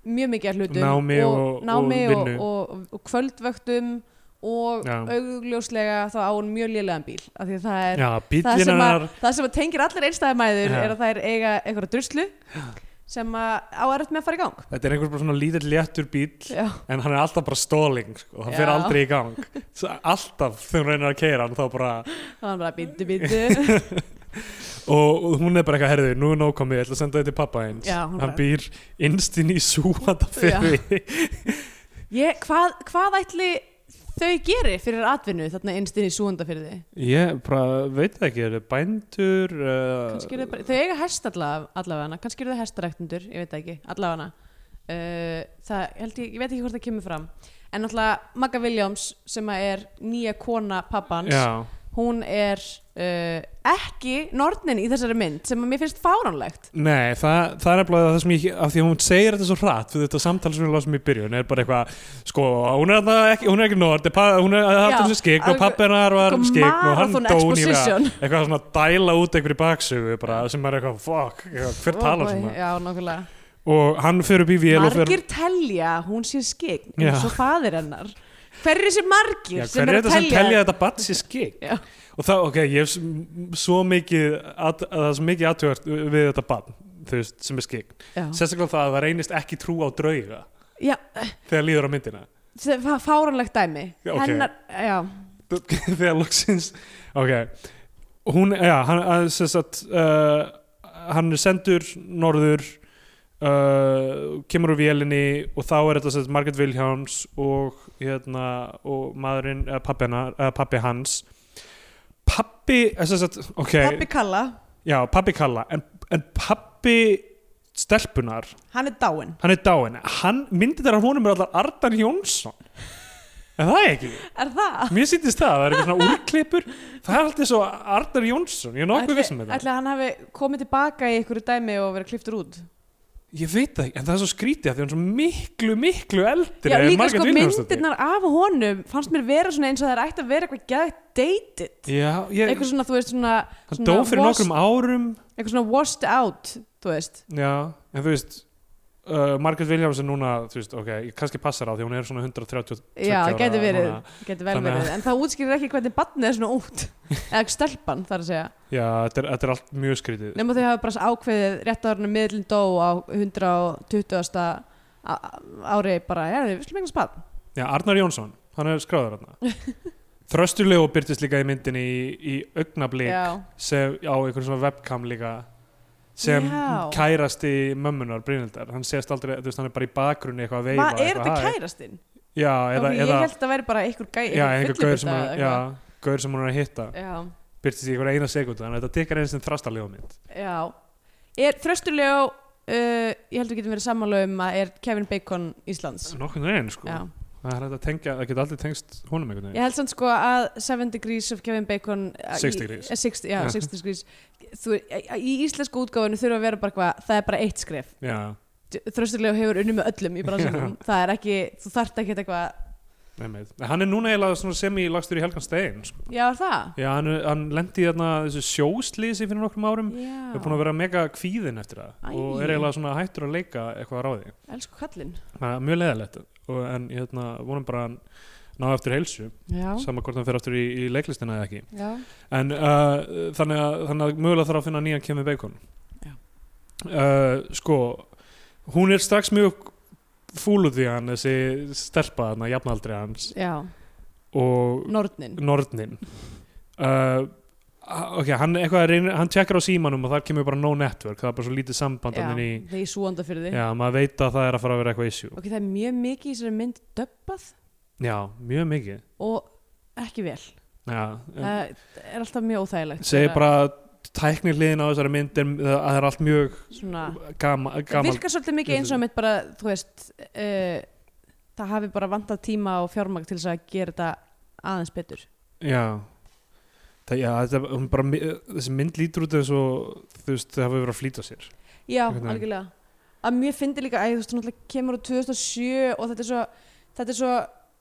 Speaker 3: mjög mikið af hlutum
Speaker 2: Námi
Speaker 3: og,
Speaker 2: og-
Speaker 3: námi
Speaker 2: og
Speaker 3: og,
Speaker 2: vinnu.
Speaker 3: og, og, kvöldvöktum og
Speaker 2: Já.
Speaker 3: augljóslega þá á hún mjög lélegan bíl af því að það er
Speaker 2: Já,
Speaker 3: það,
Speaker 2: bíllinn
Speaker 3: sem að,
Speaker 2: hennar
Speaker 3: það sem að tengir allar einstæðamæður
Speaker 2: Já.
Speaker 3: er að það er eiga einhverja druslu sem að á erfitt með að fara í gang
Speaker 2: Þetta er einhvers bara svona lítill léttur bíll
Speaker 3: Já,
Speaker 2: en hann er alltaf bara stalling sko. hann fer
Speaker 3: Já.
Speaker 2: aldrei í gang Svo alltaf þegar hún reynir að keira hann þá bara
Speaker 3: það var bara bítu bítu
Speaker 2: og, og hún er bara eitthvað herðið, nú er nóg komið, ég ætla að senda þetta til pappa eins
Speaker 3: Já, hún
Speaker 2: hann
Speaker 3: bara-
Speaker 2: býr innstinn í súanda fyrir
Speaker 3: Ég, hvað, hvað ætli þau geri fyrir atvinnu þarna einstinni súanda fyrir þið?
Speaker 2: ég bara veit það ekki, er það bændur
Speaker 3: kannski
Speaker 2: uh,
Speaker 3: eru þau bara, þau eiga hest allavega, allavega kannski eru þau hestaræktundur, ég veit það ekki allavega uh, það, held ég, ég veit ekki hvort það kemur fram en náttúrulega Magga Williams sem að er nýja kona pappans
Speaker 2: já,
Speaker 3: hún er uh, ekki nornin í þessari mynd sem að mér finnst fáránlegt
Speaker 2: nei, það, það er nefnilega það sem ég, af því að hún segir þetta svo hratt við þetta samtal sem við lásum í byrjun er bara eitthvað, sko, hún er, þarna ekki, hún er ekki nort, hún er
Speaker 3: Já,
Speaker 2: alltaf sem skikn og
Speaker 3: alveg-
Speaker 2: pappi hennar var
Speaker 3: Eitthvað
Speaker 2: skikn og hann
Speaker 3: marathon
Speaker 2: dó nýlega
Speaker 3: exposition.
Speaker 2: eitthvað svona að dæla út einhverju baksögu bara, sem er eitthvað, fuck, eitthvað, hver
Speaker 3: Ó,
Speaker 2: talar
Speaker 3: Oh boy,
Speaker 2: svona
Speaker 3: já, nákvæmlega.
Speaker 2: og hann fyrir upp í vél og
Speaker 3: margir
Speaker 2: fyrir
Speaker 3: telja að hún sé skikn
Speaker 2: Já.
Speaker 3: eins og faðir hennar hver er þessi margir
Speaker 2: Já, hver er
Speaker 3: sem er að
Speaker 2: þetta sem
Speaker 3: telja,
Speaker 2: telja þetta batsi skik
Speaker 3: Já.
Speaker 2: og það, ok, ég hef s- m- svo mikið að, að það er svo mikið aðtugast við þetta bann, þú veist, sem er skik
Speaker 3: Já.
Speaker 2: sérstaklega það að það reynist ekki trú á drauga
Speaker 3: Já,
Speaker 2: þegar líður á myndina
Speaker 3: sem- fá- fáránlegt dæmi
Speaker 2: Já, ok.
Speaker 3: hennar, já,
Speaker 2: þegar loksins ok, hún, já, hann að, sem sagt, uh, hann er sendur norður uh, kemur úr vélinni og þá er þetta sem sagt, Margaret Williams og, hérna, og maðurinn, eða pabbi, hennar- eða pabbi hans pabbi, eh, sem sagt, ok
Speaker 3: pappi Kalla
Speaker 2: já, pabbi kalla, en, en pabbi stelpunar
Speaker 3: hann er dáinn
Speaker 2: hann er dáinn, hann myndi þeirra honum er allar Ardan Jónsson en það er ekki,
Speaker 3: er það?
Speaker 2: mér sýttist það það er eitthvað svona úrklippur það er alltaf svo Ardan Jónsson, ég er nokkuð um vissum með það
Speaker 3: Ætli að hann hafi komið tilbaka í einhverju dæmi og verið kliftur út
Speaker 2: Ég veit það ekki, en það er svo skrítið af því hann er svo miklu, miklu eldri
Speaker 3: Já,
Speaker 2: en
Speaker 3: líka
Speaker 2: Margrét
Speaker 3: sko
Speaker 2: Vilhjálmsdóttir.
Speaker 3: myndirnar af honum fannst mér vera svona eins og það er ætti að vera eitthvað gæðið dated
Speaker 2: Já, ég,
Speaker 3: eitthvað svona, þú veist, svona,
Speaker 2: hann
Speaker 3: svona
Speaker 2: dó fyrir
Speaker 3: washed-
Speaker 2: nokkrum árum
Speaker 3: eitthvað svona washed out, þú veist
Speaker 2: Já, en þú veist uh, Margrét Viljámsen núna, þú veist, ok kannski passar á því hún er svona 130
Speaker 3: Já,
Speaker 2: ára
Speaker 3: gæti verið,
Speaker 2: núna.
Speaker 3: gæti vel
Speaker 2: Þannig að-
Speaker 3: verið en það útskýrir ekki hvernig barnið er svona út eða stelpan, þar að segja
Speaker 2: Já, þetta er, þetta er allt mjög skrítið
Speaker 3: nema þau hafa bara ákveðið rétt árunum miðlinn dó á 120. á- ári bara, já, við slum einhvers barn
Speaker 2: Já, Arnar Jónsson, hann er skráður hann Þröstulegu byrtist líka í myndinni í, í augnablik
Speaker 3: Já,
Speaker 2: sem, á einhvern svona webcam líka sem
Speaker 3: Já.
Speaker 2: kærasti mömmunar Brynildar, hann sést aldrei, þú veist, hann er bara í bakgrunni eitthvað að veifa
Speaker 3: hvað er
Speaker 2: eitthvað,
Speaker 3: þetta
Speaker 2: hæ.
Speaker 3: kærastinn?
Speaker 2: Já,
Speaker 3: Eða,
Speaker 2: eða,
Speaker 3: ég
Speaker 2: eða,
Speaker 3: held að vera bara einhver gæ
Speaker 2: já, einhver gaur sem,
Speaker 3: fyllibytta
Speaker 2: hún-
Speaker 3: eða
Speaker 2: já, gaur sem hún er að hitta
Speaker 3: eitthvað. já,
Speaker 2: byrtist í einhver eina sekundu, þannig að þetta tekkar eins sem þrastarlegu mynd
Speaker 3: Já, er þröstulega uh, ég held við getum verið sammála um að er Kevin Bacon Íslands
Speaker 2: Nokkurn veginn, sko
Speaker 3: Já.
Speaker 2: Það er hægt að tengja, það getur aldrei tengst honum einhvern
Speaker 3: Ég
Speaker 2: veginn
Speaker 3: held samt sko að 7 degrees of Kevin Bacon uh,
Speaker 2: Six
Speaker 3: í-
Speaker 2: degrees.
Speaker 3: eh, six- Já,
Speaker 2: Já.
Speaker 3: 6 degrees Þú, í- Í íslensku útgáfinu þurfa að vera bara hvað það er bara eitt skref
Speaker 2: Já,
Speaker 3: Þröstulega hefur unni með öllum í bransanum það er ekki, þú þarft ekki eitthvað
Speaker 2: nefnir Hann er núna eiginlega svona semi-lagstur í Helgan Stein sko.
Speaker 3: Já, er það?
Speaker 2: Já, hann, hann lendi í þarna þessu sjóslýsi fyrir nokkrum árum
Speaker 3: Já,
Speaker 2: er búin að vera mega kvíðin eftir það
Speaker 3: Æ.
Speaker 2: og er eiginlega svona hættur að leika eitthvað að ráði
Speaker 3: elsku kallinn
Speaker 2: Það er mjög leðalegt og, en ég hérna, vonum bara að hann ná eftir heilsu
Speaker 3: Já,
Speaker 2: sama hvort hann fer aftur í, í leiklistina eða ekki
Speaker 3: já
Speaker 2: en uh, þannig, að, þannig að mögulega þarf að finna nýjan kemur bacon
Speaker 3: Já.
Speaker 2: uh, sko hún er strax mjög fúl út í hann þessi stelpa hann að jafnaldri hans
Speaker 3: Já,
Speaker 2: og
Speaker 3: nornin
Speaker 2: nornin uh, ok, hann, eitthvað reynir, hann tekkar á símanum og þar kemur bara no network það er bara svo lítið samband
Speaker 3: Já,
Speaker 2: þarna inn í,
Speaker 3: það er í súanda fyrir þig
Speaker 2: já, maður veit að það er að fara að vera eitthvað issue
Speaker 3: Ok, það er mjög mikið í þessari mynd döbbað
Speaker 2: já, mjög mikið
Speaker 3: og ekki vel
Speaker 2: já, uh,
Speaker 3: það er alltaf mjög óþægilegt
Speaker 2: segir
Speaker 3: Þegar
Speaker 2: bara tækni hliðin á þessari mynd er, það er allt mjög
Speaker 3: svona,
Speaker 2: gama,
Speaker 3: það
Speaker 2: gamal
Speaker 3: virkar svolítið mikið eins og mitt bara þú veist uh, það hafi bara vantað tíma og fjármagn til þess að gera þetta aðeins betur
Speaker 2: Já Það, já, þetta, hún bara, mi- þessi mynd lítur út eins og þú veist, það hafa verið að flýta sér
Speaker 3: já,
Speaker 2: Einhvern veginn.
Speaker 3: algjörlega að mér fyndi líka að þú veist, hún náttúrulega kemur úr 2007 og þetta er svo þetta er svo,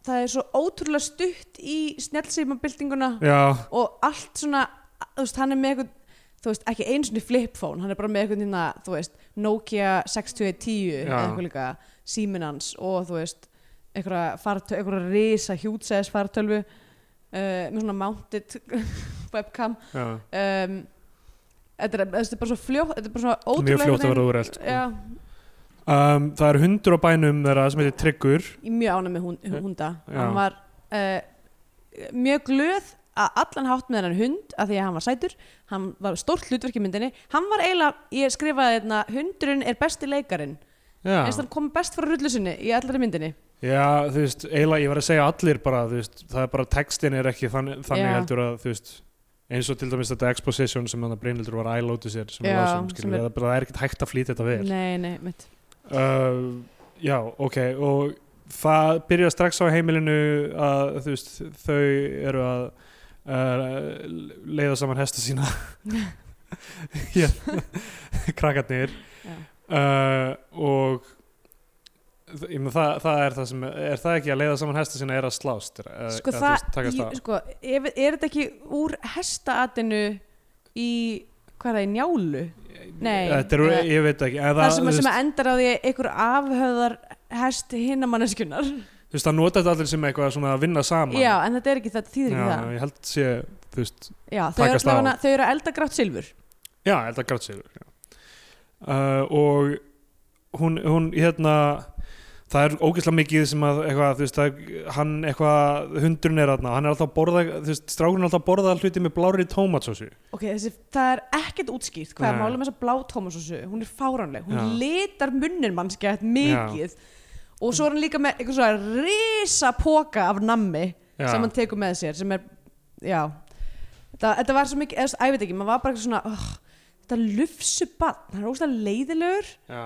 Speaker 3: það er svo ótrúlega stutt í snjálfsýmabildinguna
Speaker 2: Já,
Speaker 3: og allt svona þú veist, hann er með eitthvað þú veist, ekki einu svona flip phone, hann er bara með eitthvað hérna, þú veist, Nokia 6110
Speaker 2: Já.
Speaker 3: eða eitthvað líka, síminn hans og þú veist, eitthvað fartöl, eitthvað risa hjútsæðis fartölvu uh, með svona mounted webcam
Speaker 2: já.
Speaker 3: um, þetta, er, þetta er bara svo fljótt þetta er bara svo ótrúlega
Speaker 2: mjög fljótt að
Speaker 3: einhvern
Speaker 2: vera úrelt sko.
Speaker 3: veginn- Já,
Speaker 2: um, Það er hundur á bænum þeirra sem heitir Tryggur
Speaker 3: ég er mjög ánæg með hún, hunda
Speaker 2: Já.
Speaker 3: hann var uh, mjög glöð að allan hátt með hennar hund af því að hann var sætur, hann var stórt hlutverk í myndinni, hann var eiginlega ég skrifaði hérna, hundurinn er besti leikarin
Speaker 2: Já,
Speaker 3: eins og hann kom best frá rullusinni í allari myndinni
Speaker 2: já þú veist, eiginlega ég var að segja allir bara, þú veist, það er bara textin er ekki þannig, þannig
Speaker 3: Já.
Speaker 2: heldur að, þú veist eins og til dæmis þetta exposition sem þannig að Brynhildur var að æla út í sér sem,
Speaker 3: Já,
Speaker 2: já, sem,
Speaker 3: sem
Speaker 2: sem
Speaker 3: er-
Speaker 2: er, það er ekkert hægt að flýta þetta vel
Speaker 3: nei, nei, mitt
Speaker 2: uh, já, ok og það byrja strax á heimilinu að þú veist, þau eru að uh, leiða saman hesta sína Hér, krakkarnir
Speaker 3: Já.
Speaker 2: uh, og þ- ég með, það, það er það sem er það ekki að leiða saman hesta sína er að slást er, er-
Speaker 3: sko
Speaker 2: eða, þú veist,
Speaker 3: það,
Speaker 2: takast
Speaker 3: í,
Speaker 2: á.
Speaker 3: sko, ef, er þetta ekki úr hestaatinu í, hvað er það, í njálu nei,
Speaker 2: þetta er,
Speaker 3: eða-
Speaker 2: ég veit ekki en
Speaker 3: það sem,
Speaker 2: þú
Speaker 3: að, sem
Speaker 2: veist-
Speaker 3: að endar á því að einhver afhöðar hest hinnamanneskunar
Speaker 2: þú veist, það nota þetta allir sem eitthvað svona að vinna saman
Speaker 3: já, en þetta er ekki það, þýðir ekki
Speaker 2: Já,
Speaker 3: það
Speaker 2: ég held sé, þú veist
Speaker 3: Já, þau eru,
Speaker 2: Takast á.
Speaker 3: allavega, þau eru að elda grátt silfur
Speaker 2: Já, ég held að grátt silfur já. uh, og hún, hún hérna það er ógeðslega mikið sem að eitthvað, þú veist, að hann eitthvað hundurinn er þarna, hann er alltaf að borða þú veist, strákurinn er alltaf að borða hluti með blári tómatsósu
Speaker 3: Ok, þessi, það er ekkert útskýrt hvað er
Speaker 2: Nei.
Speaker 3: málið með þessa blá tómasósu hún er fáránleg, hún
Speaker 2: Já.
Speaker 3: litar munnir mannskjætt mikið og svo er hann líka með eitthvað svona risa póka af nammi
Speaker 2: Já.
Speaker 3: sem hann tekur með sér sem er, já þetta, þetta var svo mikið, eða, þú veist, æ, ég veit ekki, maður var bara eitthvað svona oh, þetta lufsu bann, hann er óslega leiðilegur
Speaker 2: Já,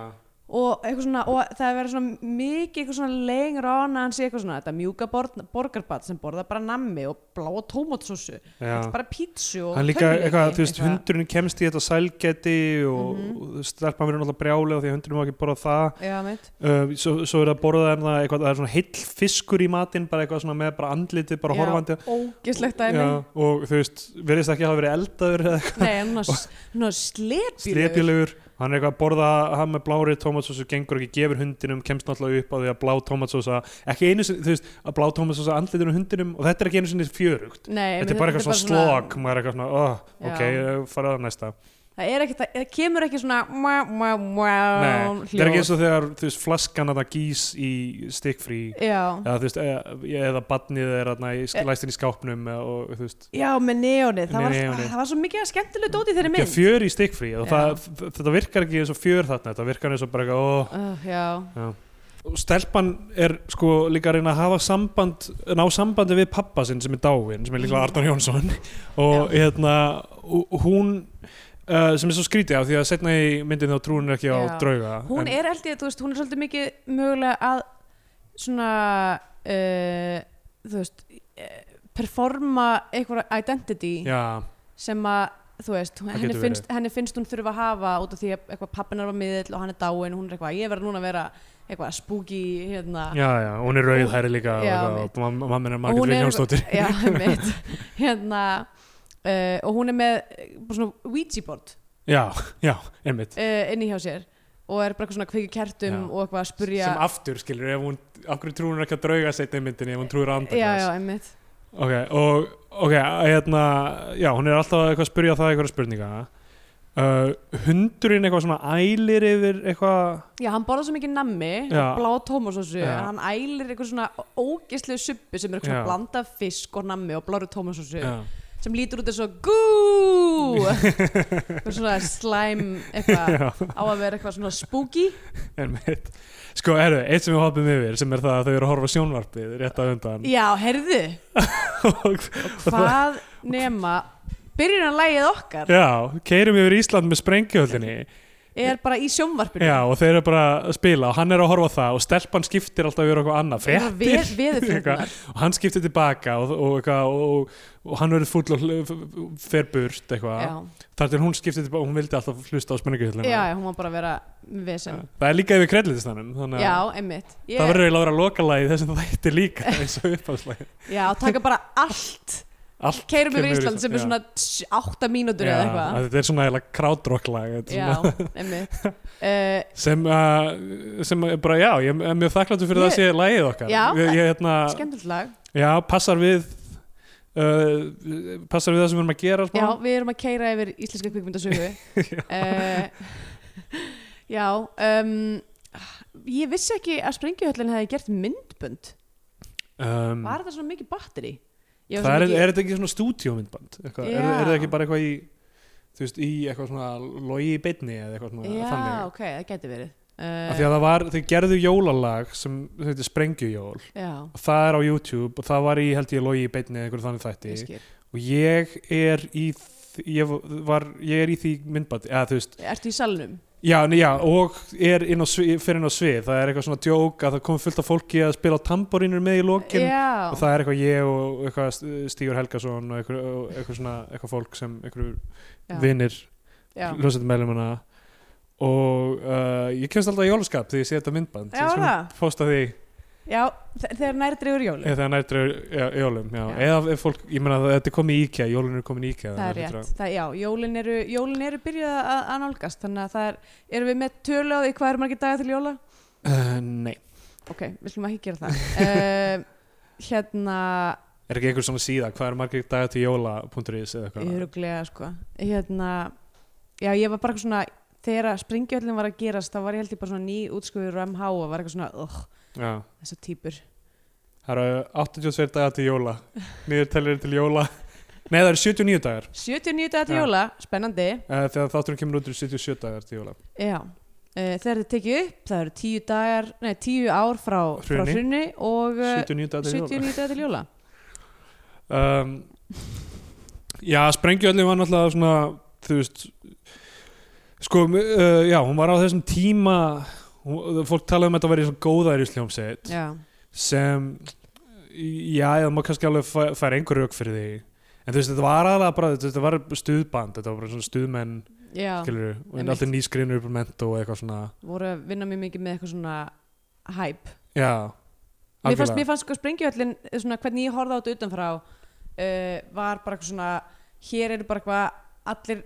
Speaker 3: og, eitthvað svona, og það er verið svona mikið eitthvað svona lengur án að hann sé eitthvað svona þetta mjúka borg, borgarbat sem borða bara nammi og bláa tómatsósu
Speaker 2: Já.
Speaker 3: bara pítsu og
Speaker 2: hann líka,
Speaker 3: tölvuleiki,
Speaker 2: eitthvað, þú veist,
Speaker 3: eitthvað. Mhm.
Speaker 2: hundurinn kemst í þetta sælgæti og mm -hmm. stelpan verður náttúrulega brjálega því að hundurinn má ekki borða það
Speaker 3: Já, mitt.
Speaker 2: uh, svo, svo er það borðað en það, eitthvað, það er svona heill fiskur í matinn bara eitthvað svona með bara andlitið, bara
Speaker 3: Já,
Speaker 2: horfandi
Speaker 3: ógeslegt dæmi
Speaker 2: Já, og þú veist, verðist ekki hafa verið eldaður eða eitthvað
Speaker 3: nei, hann var, hann var slepjulegur
Speaker 2: slepjulegur hann er eitthvað að borða hann með blári tómatsósu gengur ekki, gefur hundinum, kemst náttúrulega upp á því að blá tómatsósa, ekki einu sinni þú veist, að blá tómatsósa andlitinu hundinum og þetta er ekki einu sinni fjörugt,
Speaker 3: Nei,
Speaker 2: þetta er bara eitthvað svona slog, maður er eitthvað svona, oh,
Speaker 3: Já.
Speaker 2: ok farað að næsta,
Speaker 3: það er ekki, það, það kemur ekki svona mjá, mjá, mjá
Speaker 2: nei, þetta er ekki eins og þegar þú veist, flaskan að það gís í stikkfrí,
Speaker 3: já,
Speaker 2: eða þú veist, eða, eða badnið er þarna í
Speaker 3: E-
Speaker 2: læstin í skápnum eða- og þú veist,
Speaker 3: já, með neonið það,
Speaker 2: Með
Speaker 3: var,
Speaker 2: neonið.
Speaker 3: það var svo mikið skemmtileg dót í þeirri
Speaker 2: ekki
Speaker 3: mynd
Speaker 2: fjör í stikkfrí og
Speaker 3: Já.
Speaker 2: það, þetta virkar ekki eins og fjör þarna, þetta virkar eins og bara eitthvað, oh,
Speaker 3: Uh, já,
Speaker 2: Og stelpan er sko líka að reyna að hafa samband ná sambandi við pappa sinn sem er dáinn sem er líklega
Speaker 3: Mm.
Speaker 2: Arnar Jónsson og hérna og- og hún uh, sem er svo skrítið af því að setna í myndin þá trúin er ekki á
Speaker 3: Já.
Speaker 2: drauga
Speaker 3: hún
Speaker 2: en,
Speaker 3: er held ég, þú veist, hún er svolítið mikið mögulega að svona uh, þú veist eh, performa einhverja identity
Speaker 2: já,
Speaker 3: sem að, þú veist,
Speaker 2: Það
Speaker 3: hún- henni
Speaker 2: getur
Speaker 3: finnst, henni finnst hún þurfa að hafa út af því að eitthvað pappinar var miðill og hann er dáin hún er eitthvað, ég verður núna að vera eitthvað spooky hérna
Speaker 2: já, já, hún er rauð hæri líka
Speaker 3: Já,
Speaker 2: og, og mamma er
Speaker 3: Og hún
Speaker 2: Margrét
Speaker 3: er-
Speaker 2: Viljánsdóttir
Speaker 3: já, mitt hérna, uh, og hún er með eh, bara svona Ouija board
Speaker 2: já, já, einmitt
Speaker 3: uh, inni hjá sér og er bara eitthvað svona kveiki kertum
Speaker 2: Já.
Speaker 3: og eitthvað að spurja
Speaker 2: sem aftur skilur, ef hún, af hverju trúin er ekki á drauga setna í myndinni, ef hún trúir á andaglas
Speaker 3: já, já, einmitt
Speaker 2: Ok, og ok, hérna, já, hún er alltaf eitthvað að spyrja það eitthvað spurninga uh, Hundurinn eitthvað svona ælir yfir eitthvað
Speaker 3: Já, hann borðar svo mikið nammi,
Speaker 2: Já.
Speaker 3: blá tómasósu
Speaker 2: Já.
Speaker 3: hann ælir eitthvað svona ógeslegu suppu sem er eitthvað
Speaker 2: Já.
Speaker 3: svona blanda af fisk og nammi og bláru tómasósu
Speaker 2: Já,
Speaker 3: sem lítur út eins og gú eitthvað svona slæm eitthvað
Speaker 2: já
Speaker 3: á að vera eitthvað svona spooky
Speaker 2: einmitt Sko, herru, eitt sem við hoppum yfir sem er það að þau eru að horfa á sjónvarpið rétt að undan
Speaker 3: Já, heyrðu,
Speaker 2: og,
Speaker 3: hvað nema byrjunarlægið okkar
Speaker 2: Já, keirum yfir Ísland með sprengjuhöllinni
Speaker 3: er bara í sjónvarpinu
Speaker 2: Já, og þeir eru bara að spila og hann er að horfa á það og stelpan skiptir alltaf yfir eitthvað annað
Speaker 3: Eitthvað
Speaker 2: Fréttir
Speaker 3: veð- veðurfréttirnar.
Speaker 2: og hann skiptir tilbaka og, og, eitthvað, og, og, og hann verður fúll og hl- f- f- fer burt eitthvað
Speaker 3: Já,
Speaker 2: þar til hún skipti tilbaka, hún vildi alltaf hlusta á spenninguhjöllina
Speaker 3: já, hún var bara að vera með vesen
Speaker 2: það er líka yfir kredlitistanum þannig
Speaker 3: Já,
Speaker 2: að
Speaker 3: einmitt Ég-
Speaker 2: það verður eiginlega að vera lokalægi þessum þætti líka eins og uppáðslægi
Speaker 3: Já, taka bara allt
Speaker 2: allt
Speaker 3: Keirum
Speaker 2: kemur
Speaker 3: yfir
Speaker 2: í
Speaker 3: Ísland sem er
Speaker 2: já.
Speaker 3: svona tss, átta mínútur eða
Speaker 2: Já,
Speaker 3: eitthvað
Speaker 2: að þetta er svona eiginlega krádrokklag þetta er
Speaker 3: Já,
Speaker 2: svona-
Speaker 3: einmitt uh,
Speaker 2: sem, uh, sem er bara já ég er mjög þakkláttur fyrir
Speaker 3: Ég-
Speaker 2: það að sé lægið okkar
Speaker 3: Já,
Speaker 2: ég, ég, hérna,
Speaker 3: Eh, Skemmtilegt lag
Speaker 2: já, passar við uh, passar við það sem við erum að gera smá.
Speaker 3: Já, við erum að keira yfir íslenska kvikmyndasögu uh, Já um, Ég vissi ekki að sprengjuhöllin hefði gert myndbönd
Speaker 2: um,
Speaker 3: Var þetta svona mikið batteri? Ég var
Speaker 2: það er,
Speaker 3: svo mikið-
Speaker 2: er þetta ekki svona stúdíómyndband eitthvað? er,
Speaker 3: Já.
Speaker 2: er þetta ekki bara eitthvað í þú veist, í eitthvað svona logi í beinni eða eitthvað svona
Speaker 3: Já,
Speaker 2: þannig
Speaker 3: ok, það geti verið
Speaker 2: af því
Speaker 3: uh,
Speaker 2: að það var, þau gerðu jólalag sem þetta er Sprengjujól
Speaker 3: Já,
Speaker 2: og það er á YouTube og það var í held ég logi í beinni eða einhverju þannig þætti
Speaker 3: ég skil
Speaker 2: og ég er í þ- ég, var, ég er í því myndbandi eða þú veist,
Speaker 3: Ertu í salnum?
Speaker 2: já, nei, já og er inn á svið, fyrir inn á svið það er eitthvað svona djók að það kom fullt af fólki að spila á tamborínur með í lokin
Speaker 3: Já,
Speaker 2: og það er eitthvað ég og eitthvað St- Stígur Helgason og eitthvað, og eitthvað svona eitthvað fólk sem eitthvað
Speaker 3: já,
Speaker 2: vinnir
Speaker 3: já.
Speaker 2: hljómsveitum meðlumana og uh, ég kemst alltaf í jólaskap því ég sé þetta myndband
Speaker 3: Já,
Speaker 2: Ég skal
Speaker 3: það.
Speaker 2: posta því
Speaker 3: já þe- þegar nær dregur jólum
Speaker 2: eða nærtur jólum já.
Speaker 3: Já.
Speaker 2: eða ef fólk, ég meina að þetta er komið í IKEA jólun eru komið í IKEA
Speaker 3: Það er
Speaker 2: þannig að
Speaker 3: rétt, það, já, jólin eru, jólin eru byrjuð að, að nálgast, þannig að það er, erum við með tölu á því hvað eru margir dagar til jóla?
Speaker 2: þetta- uh, nei,
Speaker 3: Ok, við slum ekki gera það. uh, hérna,
Speaker 2: er ekki einhver svona síða hvað er margir dagar til jóla.is eða eitthvað
Speaker 3: öruglega, sko, hérna, já, ég var bara eitthvað svona, þegar að springjöldin var að gerast, þá var ég held ég bara svona ný útskjöður og MH og var eitthvað svona, ugh,
Speaker 2: já.
Speaker 3: þessu týpur.
Speaker 2: það eru 82 dagar til jóla niður tellir til jóla nei það eru 79 dagar
Speaker 3: 79 dagar til
Speaker 2: Já.
Speaker 3: jóla, spennandi,
Speaker 2: uh, þegar þátturinn kemur út eru 77 dagar til jóla
Speaker 3: já. Uh, þegar þið tekið upp, það eru tíu dagar, nei, tíu ár frá frá
Speaker 2: Hruni.
Speaker 3: hrunni og eh,
Speaker 2: 79 dagar til jóla
Speaker 3: 79 dagar til jóla.
Speaker 2: um, Já, sprengjuöllin var náttúrulega svona þú veist sko, uh, já, hún var á þessum tíma Hún- fólk talaði um að þetta væri svona góðæri sljómsveit
Speaker 3: já,
Speaker 2: sem já, það má kannski alveg fæ- færa einhver rauk fyrir því en þú veist, þetta var aðalega bara þetta var stuðband, þetta var bara svona stuðmenn
Speaker 3: já
Speaker 2: skilur, og
Speaker 3: einmitt.
Speaker 2: alltaf nýskrinur upp á mentó og eitthvað svona
Speaker 3: voru að vinna mjög mikið með eitthvað svona hæp
Speaker 2: já,
Speaker 3: mér fannst, mér fannst sko sprengjuvöllin svona hvernig ég horfði á þetta utanfrá uh, var bara eitthvað svona hér eru bara eitthvað allir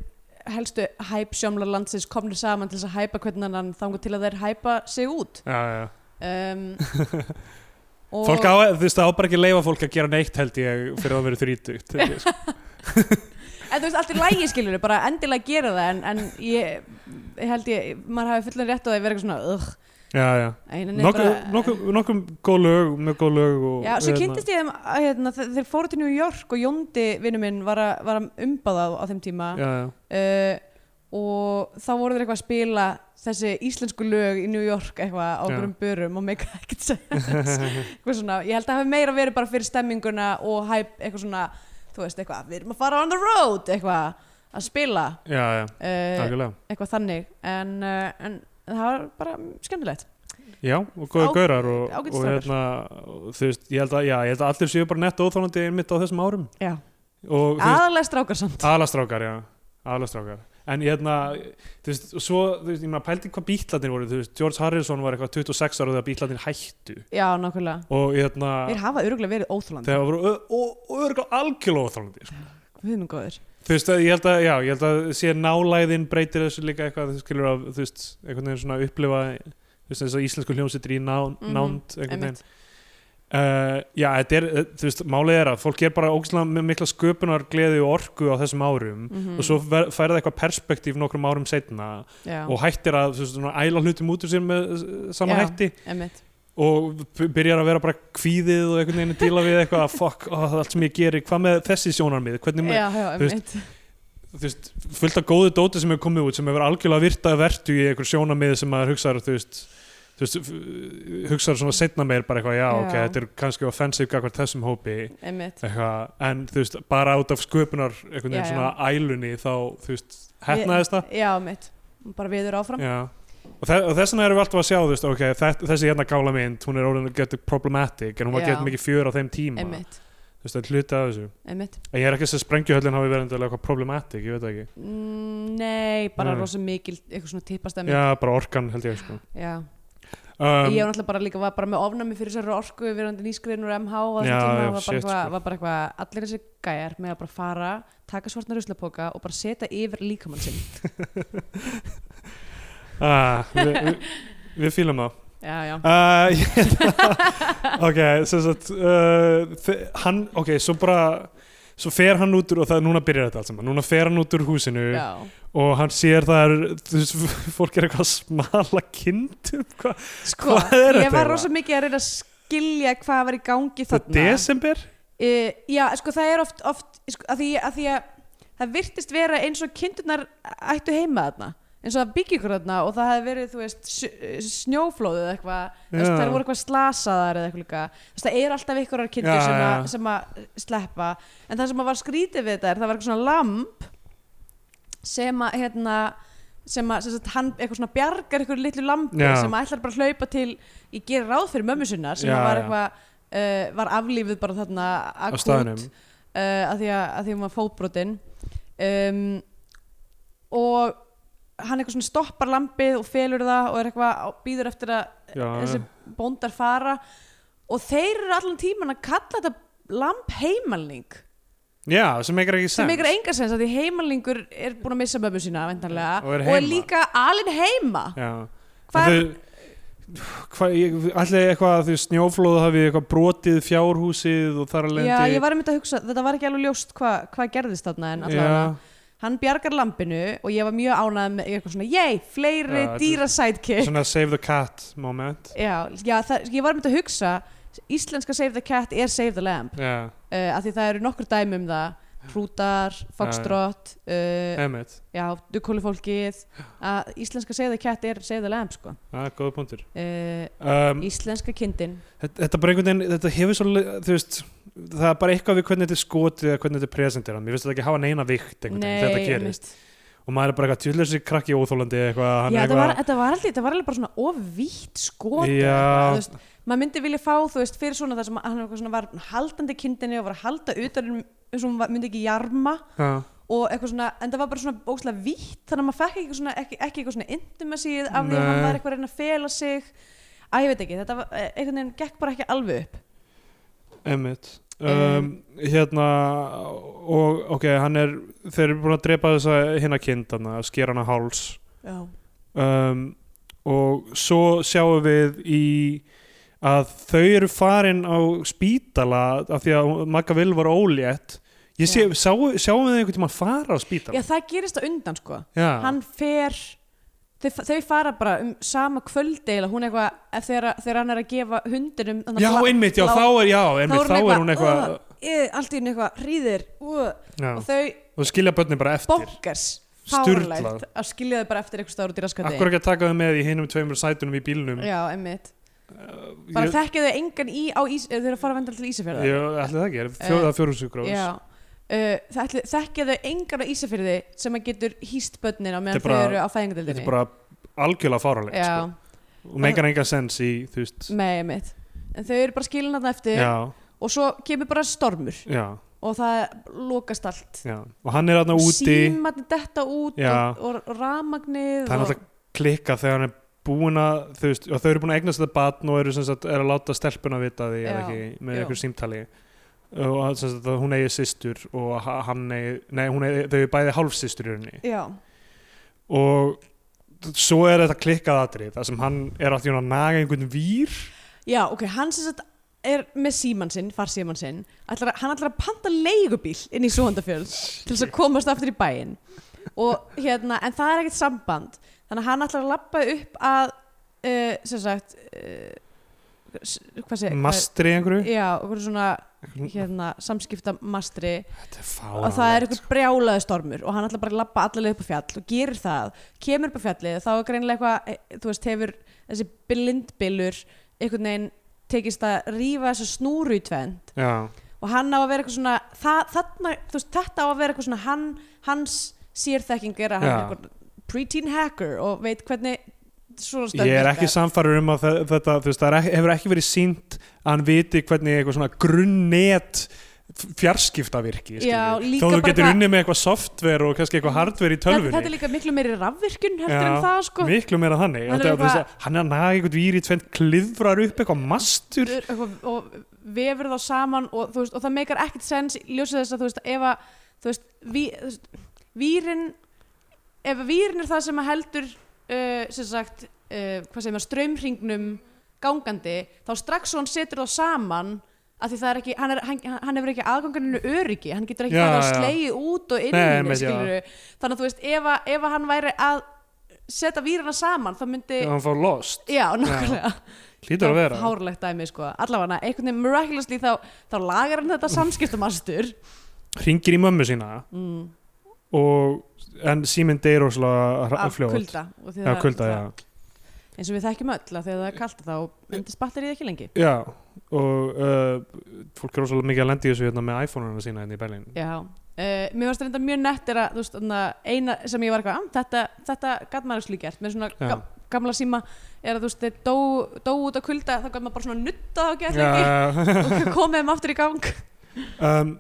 Speaker 3: helstu hæp sjómlar landsins komnir saman til þess að hæpa hvernig annan þangur til að þeir hæpa sig út
Speaker 2: já, já.
Speaker 3: um, og
Speaker 2: fólk á, þú veist, það á bara ekki að leifa fólk að gera neitt held ég fyrir að vera þrítugt held ég, sko.
Speaker 3: En þú veist, allt í lægi skilur bara endilega gera það en, en ég, ég held ég, maður hafi fullan rétt á því að vera eitthvað svona ugh,
Speaker 2: já, já,
Speaker 3: en en
Speaker 2: nokkum nokkum nokkum góð lög, mjög góð lög og,
Speaker 3: Já, svo
Speaker 2: hérna,
Speaker 3: kynntist ég þeim að, hérna, þe- þeir fóru til New York og Jóndi vinnu minn var að, var að umbaða á þeim tíma
Speaker 2: já, já,
Speaker 3: uh, og þá voru þeir eitthvað að spila þessi íslensku lög í New York eitthvað
Speaker 2: Já.
Speaker 3: á okkurum börum og meika ekkert sens. eitthvað svona, ég held að það hafi meira verið bara fyrir stemminguna og hæp eitthvað svona, þú veist eitthvað, við erum að fara on the road eitthvað að spila
Speaker 2: já, já,
Speaker 3: uh,
Speaker 2: takkulega
Speaker 3: eitthvað þannig en, uh, en það var bara skemmtilegt
Speaker 2: Já, og góði
Speaker 3: Á-
Speaker 2: gaurar og,
Speaker 3: ágætis
Speaker 2: og
Speaker 3: strákar.
Speaker 2: hérna, og þú veist, ég held að, já, ég held að allir séu bara nett óþólandi einmitt á þessum árum
Speaker 3: já.
Speaker 2: og þú veist,
Speaker 3: aðalega strákarsamt
Speaker 2: aðlastrákar, já, aðlastrákar en hérna, þú veist, og svo þú veist, ég maður pældi hvað bítlarnir voru, þú veist George Harrison var eitthvað 26 ára þegar bítlarnir hættu
Speaker 3: já, nákvæmlega
Speaker 2: og hérna,
Speaker 3: þeir hafa öruglega verið óþólandi
Speaker 2: þegar voru ö- ó- ó- örgulega algjörlega óþólandi, sko.
Speaker 3: við erum góðir
Speaker 2: þú veist, ég held að, já, ég held að sé nálæðin breytir þessu líka eitthvað, þú skilur að, þú veist, einhvern veginn svona upplifa, þú veist, þess að íslensku hljómsitri í ná,
Speaker 3: Mhm,
Speaker 2: nánd, einhvern veginn
Speaker 3: einmitt.
Speaker 2: Uh, já, þetta er, uh, þú veist, málið er að fólk er bara ógæslega með mikla sköpunar gleði og orku á þessum árum
Speaker 3: Mhm.
Speaker 2: og svo ver- fær það eitthvað perspektíf nokkrum árum setna
Speaker 3: Mhm. já,
Speaker 2: og hættir að, þú veist, svona, æla hlutum út úr sér með uh, sama
Speaker 3: Já.
Speaker 2: hætti
Speaker 3: einmitt
Speaker 2: og b- byrjar að vera bara kvíðið og einhvern veginn að díla við eitthvað að fuck, oh, allt sem ég geri, hvað með þessi sjónarmið hvernig með,
Speaker 3: já, já,
Speaker 2: þú veist,
Speaker 3: einmitt
Speaker 2: þú veist, fullt af góðu dóti sem hefur komið út sem hefur algjörlega virtað vertu í einhver sjónamið sem maður hugsaður, þú veist þú veist, f- hugsaður svona setna meir bara eitthvað, já,
Speaker 3: Já.
Speaker 2: ok, þetta er kannski offensive gagvart þessum hópi,
Speaker 3: einmitt
Speaker 2: eitthvað en þú veist, bara út af sköpunar einhvern veginn
Speaker 3: Já, já.
Speaker 2: svona ælunni þá, þú veist, hefnaðist það
Speaker 3: já, einmitt bara viður áfram
Speaker 2: já Og, þe og þess vegna erum við alltaf að sjá, þú veist, ok, þe- þessi hérna gála mynd, hún er orðin að geta problematic, en hún var
Speaker 3: Já.
Speaker 2: að geta mikið fjör á þeim tíma,
Speaker 3: einmitt
Speaker 2: þú veist, það er hluti af þessu.
Speaker 3: einmitt
Speaker 2: En ég er ekki að segja að sprengjuhöllin hafi verið endilega eitthvað problematic, ég veit það ekki.
Speaker 3: Mm, nei, bara
Speaker 2: Nei.
Speaker 3: rosa mikil eitthvað svona tippastemmi
Speaker 2: Já, bara orkan held ég, sko.
Speaker 3: Já.
Speaker 2: um,
Speaker 3: ég var náttúrulega bara líka var bara með ofnami fyrir þessari orku verandi nýskriðin úr MH og
Speaker 2: Já,
Speaker 3: þessum tíma
Speaker 2: já,
Speaker 3: var, bara
Speaker 2: shit,
Speaker 3: eitthvað,
Speaker 2: sko.
Speaker 3: var bara eitthvað allir þessi gæjar með að bara fara taka svartna ruslapoka og bara setja yfir líkamann sinn
Speaker 2: ah, við, við, við fýlum það
Speaker 3: já, já,
Speaker 2: uh, ég held að- ok, sem sagt uh, þe- hann, ok, svo bara svo fer hann út úr, og það, núna byrjar þetta allt saman núna fer hann út úr húsinu
Speaker 3: já.
Speaker 2: og hann sér það er, þú veist, fólk er eitthvað að smala kindum hvað,
Speaker 3: sko,
Speaker 2: Hvað er
Speaker 3: ég
Speaker 2: þetta
Speaker 3: var
Speaker 2: eiginlega?
Speaker 3: rosa mikið að reyna að skilja hvað var í gangi
Speaker 2: það er
Speaker 3: þarna
Speaker 2: desember?
Speaker 3: uh, já, sko það er oft, oft sko, að, því, að því að það virtist vera eins og kindurnar ættu heima þarna eins og það byggja ykkur þarna og það hefði verið, þú veist, s- snjóflóðið eða eitthvað, þess
Speaker 2: Já.
Speaker 3: að það voru eitthvað slasaðar eða eitthvað líka, þess að það er alltaf ykkur kindur
Speaker 2: Já,
Speaker 3: sem,
Speaker 2: já.
Speaker 3: að- sem að sleppa en það sem að var skrítið við þetta er það var eitthvað svona lamp sem að, hérna sem að, sem að hann eitthvað svona bjargar eitthvað litlu lampi
Speaker 2: Já.
Speaker 3: sem að ætlar bara að hlaupa til ég gerir ráð fyrir mömmu sinnar sem
Speaker 2: Já,
Speaker 3: að var
Speaker 2: já.
Speaker 3: eitthvað uh, var aflífið bara þarna
Speaker 2: á
Speaker 3: akút,
Speaker 2: staðnum
Speaker 3: uh, að, því að, að því að hún var fótbrotin um, og hann eitthvað svona stoppar lampið og felur það og er eitthvað á- býður eftir að
Speaker 2: já,
Speaker 3: þessi bóndar fara og þeir eru allan tíman að kalla þetta lamp heimalning
Speaker 2: já, sem eitthvað ekki
Speaker 3: sem
Speaker 2: sens
Speaker 3: ykkur enga sens að því heimalningur er búin að missa mömmu sína vendarlega,
Speaker 2: Og er heima.
Speaker 3: líka alin heima
Speaker 2: já.
Speaker 3: Hvar-
Speaker 2: En þau- Hvað, ég, allir eitthvað að því snjóflóðu hafi eitthvað brotið fjárhúsið og þar alveg
Speaker 3: Já, ég var einmitt að hugsa, þetta var ekki alveg ljóst hva, hvað gerðist þarna en allavega hann bjargar lampinu og ég var mjög ánægð með ég er eitthvað svona, yey, fleiri
Speaker 2: Já, þetta er-
Speaker 3: dýra sidekick
Speaker 2: svona save the cat moment
Speaker 3: já, já það, ég var einmitt að hugsa íslenska Save the Cat er Save the Lamb
Speaker 2: já,
Speaker 3: uh, af því það eru nokkur dæmi um það hrútar, foxtrot uh,
Speaker 2: emitt
Speaker 3: já, dukóli fólkið að íslenska Save the Cat er Save the Lamb sko.
Speaker 2: það er góða punktur
Speaker 3: uh,
Speaker 2: um,
Speaker 3: íslenska kindin
Speaker 2: þetta, þetta bara einhvern veginn, þetta hefur svo þú veist, það er bara eitthvað við hvernig þetta er skotið eða hvernig þetta er presentir hann, ég veist þetta ekki hafa neina vikt einhvern veginn, þetta gerist
Speaker 3: einmitt.
Speaker 2: og og maður er bara eitthvað tjúlega sér krakki óþólandi eitthvað hann
Speaker 3: Já,
Speaker 2: er
Speaker 3: þetta var,
Speaker 2: eitthvað
Speaker 3: þetta var allir, þetta var alveg bara svona ofvítt skot eða
Speaker 2: Já.
Speaker 3: eitthvað, þú veist, maður myndi vilja fá, þú veist, fyrir svona þar sem hann eitthvað svona var haldandi kindinni og var að halda utan um- eins og hún var- myndi ekki jarma
Speaker 2: Já,
Speaker 3: og eitthvað svona, en það var bara svona bókslega vítt þannig að maður fekk eitthvað svona, ekki, ekki eitthvað svona intimacy af því að
Speaker 2: Nei.
Speaker 3: hann var eitthvað að reyna að fela sig Æ, ég veit ekki, þetta var, e- einhvern veginn gekk bara ekki alveg upp
Speaker 2: emmitt um,
Speaker 3: Um.
Speaker 2: Hérna og ok, hann er þeir eru búin að drepa þessa hinna kind þarna, skera hana á háls
Speaker 3: Já,
Speaker 2: um, og svo sjáum við í að þau eru farin á spítala af því að Magga Vil var ólétt ég sé,
Speaker 3: Já.
Speaker 2: sá, sjáum við einhvern tímann fara á spítala
Speaker 3: það gerist á undan sko
Speaker 2: Já.
Speaker 3: hann fer þau, þau fara bara um sama kvöldi eða hún eitthvað, ef þegar, þegar hann er að gefa hundinum þarna
Speaker 2: já,
Speaker 3: blá-
Speaker 2: einmitt, já,
Speaker 3: blá-
Speaker 2: þá er, já, einmitt, þá er hún eitthvað
Speaker 3: "Ugh, eh, allt í hún eitthvað, hrýðir uh,
Speaker 2: já,
Speaker 3: og þau
Speaker 2: og skilja börnin bara eftir
Speaker 3: bonkers
Speaker 2: Sturlað.
Speaker 3: fárlegt að skilja þau bara eftir eitthvað stáru dýraskati
Speaker 2: Akkur ekki að taka þau með í hinum tveimur sætunum í bílnum Uh,
Speaker 3: já, einmitt bara
Speaker 2: Ég,
Speaker 3: ég... þekkja þau engan í, á ís, eh, þau eru að fara að venda til Ísafjörða
Speaker 2: ég ætli það ekki, er fjóða fjórhúsugrófs
Speaker 3: Eh, já Uh, ætli, þekkja þau engan á Ísafyrði sem að getur hýst börnin á
Speaker 2: Þetta
Speaker 3: meðan
Speaker 2: er bara-
Speaker 3: þau eru á
Speaker 2: Þetta
Speaker 3: fæðingadeildinni
Speaker 2: er bara algjörlega fáralegt sko.
Speaker 3: já,
Speaker 2: og meikar enga sens í, þú veist
Speaker 3: með mitt en þau eru bara skilin þarna eftir
Speaker 2: sko. Já,
Speaker 3: og svo kemur bara stormur
Speaker 2: já,
Speaker 3: og það lokast allt
Speaker 2: já og hann er aðna Hérna úti
Speaker 3: símatni detta út
Speaker 2: Já.
Speaker 3: og, og ramagnið
Speaker 2: það er
Speaker 3: og,
Speaker 2: náttúrulega klikka þegar hann er búin að þú veist, og þau eru búin að eignast þetta batn og eru sem sagt, er að láta stelpuna vita því eða
Speaker 3: Já,
Speaker 2: ekki, með
Speaker 3: já.
Speaker 2: einhver símtali og að- sem sagt, að hún eigi systur og ha- hann eigi, nei, hún eigi þau eru bæði hálfsystur í henni
Speaker 3: já,
Speaker 2: og t- svo er þetta klikkað atrið þar sem hann er alltaf að naga einhvern vír
Speaker 3: já, ok, hann sem sagt er með síman sinn, farsíman sinn ætlar, að- hann ætlar að panta leigubíl inn í Súhandafjöls til þess að komast aftur í bæinn og hérna, en það er ekkert samband þannig að hann ætlar að lappa upp að uh, sem sagt uh, s- hvað segir
Speaker 2: mastri einhverju
Speaker 3: já, okkur svona hérna, samskipta mastri
Speaker 2: þetta er
Speaker 3: og það er
Speaker 2: fáránlegt,
Speaker 3: eitthvað brjálaði stormur og hann ætlar bara að lappa allavega upp á fjall og gerir það, kemur upp á fjallið þá er greinilega eitthvað, eh, þú veist, hefur þessi blindbylur einhvern veginn tekist að rífa þessu snúru í tvend
Speaker 2: sko. já,
Speaker 3: og hann á að vera eitthvað svona það, þarna, þú veist, þetta á að vera eitthvað svona hann, hans sérþekking er að hann
Speaker 2: Já.
Speaker 3: er eitthvað preteen hacker og veit hvernig svona stönd
Speaker 2: ég er ekki samfærður um að þe- þetta þú veist, það er ekki, hefur ekki verið sínt að hann viti hvernig eitthvað svona grunnet fjarskipta virki
Speaker 3: Já, líka
Speaker 2: þó þú
Speaker 3: bara
Speaker 2: getur
Speaker 3: hvað- Mm,
Speaker 2: unnið með eitthvað software og kannski eitthvað hardware í
Speaker 3: þetta,
Speaker 2: tölvunni
Speaker 3: þetta er líka miklu meiri rafvirkun heldur
Speaker 2: Já,
Speaker 3: en það sko
Speaker 2: miklu meira þannig
Speaker 3: Hann
Speaker 2: hann
Speaker 3: er
Speaker 2: er, eitthvað...
Speaker 3: eitthvað-
Speaker 2: að, hann er að naga einhvern vír í tvent klifrar upp eitthvað mastur
Speaker 3: eitthvað, og vefur þá saman og, þú veist, og það meikar ekkert sens í ljósið þess að þú veist, ef að þú veist, ví, þú veist, vírin ef að vírin er það sem að heldur uh, sem sagt uh, hvað segir maður, strömringnum gangandi, þá strax og hann setur þá saman að því það er ekki, hann, er, hann, hann hefur ekki aðganganinu öryggi, hann getur ekki
Speaker 2: Já,
Speaker 3: já, að
Speaker 2: já.
Speaker 3: slegið út og inn
Speaker 2: Nei,
Speaker 3: Nei,
Speaker 2: einmitt, já.
Speaker 3: skilur, þannig að þú veist, ef, að, ef að hann væri að setja vírina saman, þá myndi
Speaker 2: og
Speaker 3: já,
Speaker 2: hann fór lost,
Speaker 3: já nákvæmlega
Speaker 2: hlýtur að vera
Speaker 3: hárlegt dæmi sko allavega einhvern veginn miraculously þá, þá lagar hann þetta samskiptamastur
Speaker 2: hringir í mömmu sína
Speaker 3: mm,
Speaker 2: og en síminn deyr óslega
Speaker 3: af
Speaker 2: fljótt
Speaker 3: kulda og því
Speaker 2: já,
Speaker 3: það-
Speaker 2: kulda,
Speaker 3: það-
Speaker 2: já.
Speaker 3: eins og við þekkjum öll að þegar það er kalt þá endist batterið ekki lengi
Speaker 2: já og uh, fólk er óslega mikið að lenda í þessu hérna, með iPhone-una sína hérna í Berlín
Speaker 3: já uh, mér varst reynda mjög nett er að þú veist þarna eina sem ég var eitthvað "Ah, þetta, þetta gatt maður slík gert með svona
Speaker 2: Já.
Speaker 3: gam, gamla síma er að þú veist þeir dó, dó út á kulda þá gæt maður bara svona nutta og gett lengi
Speaker 2: Já,
Speaker 3: og komið þeim aftur í gang
Speaker 2: um,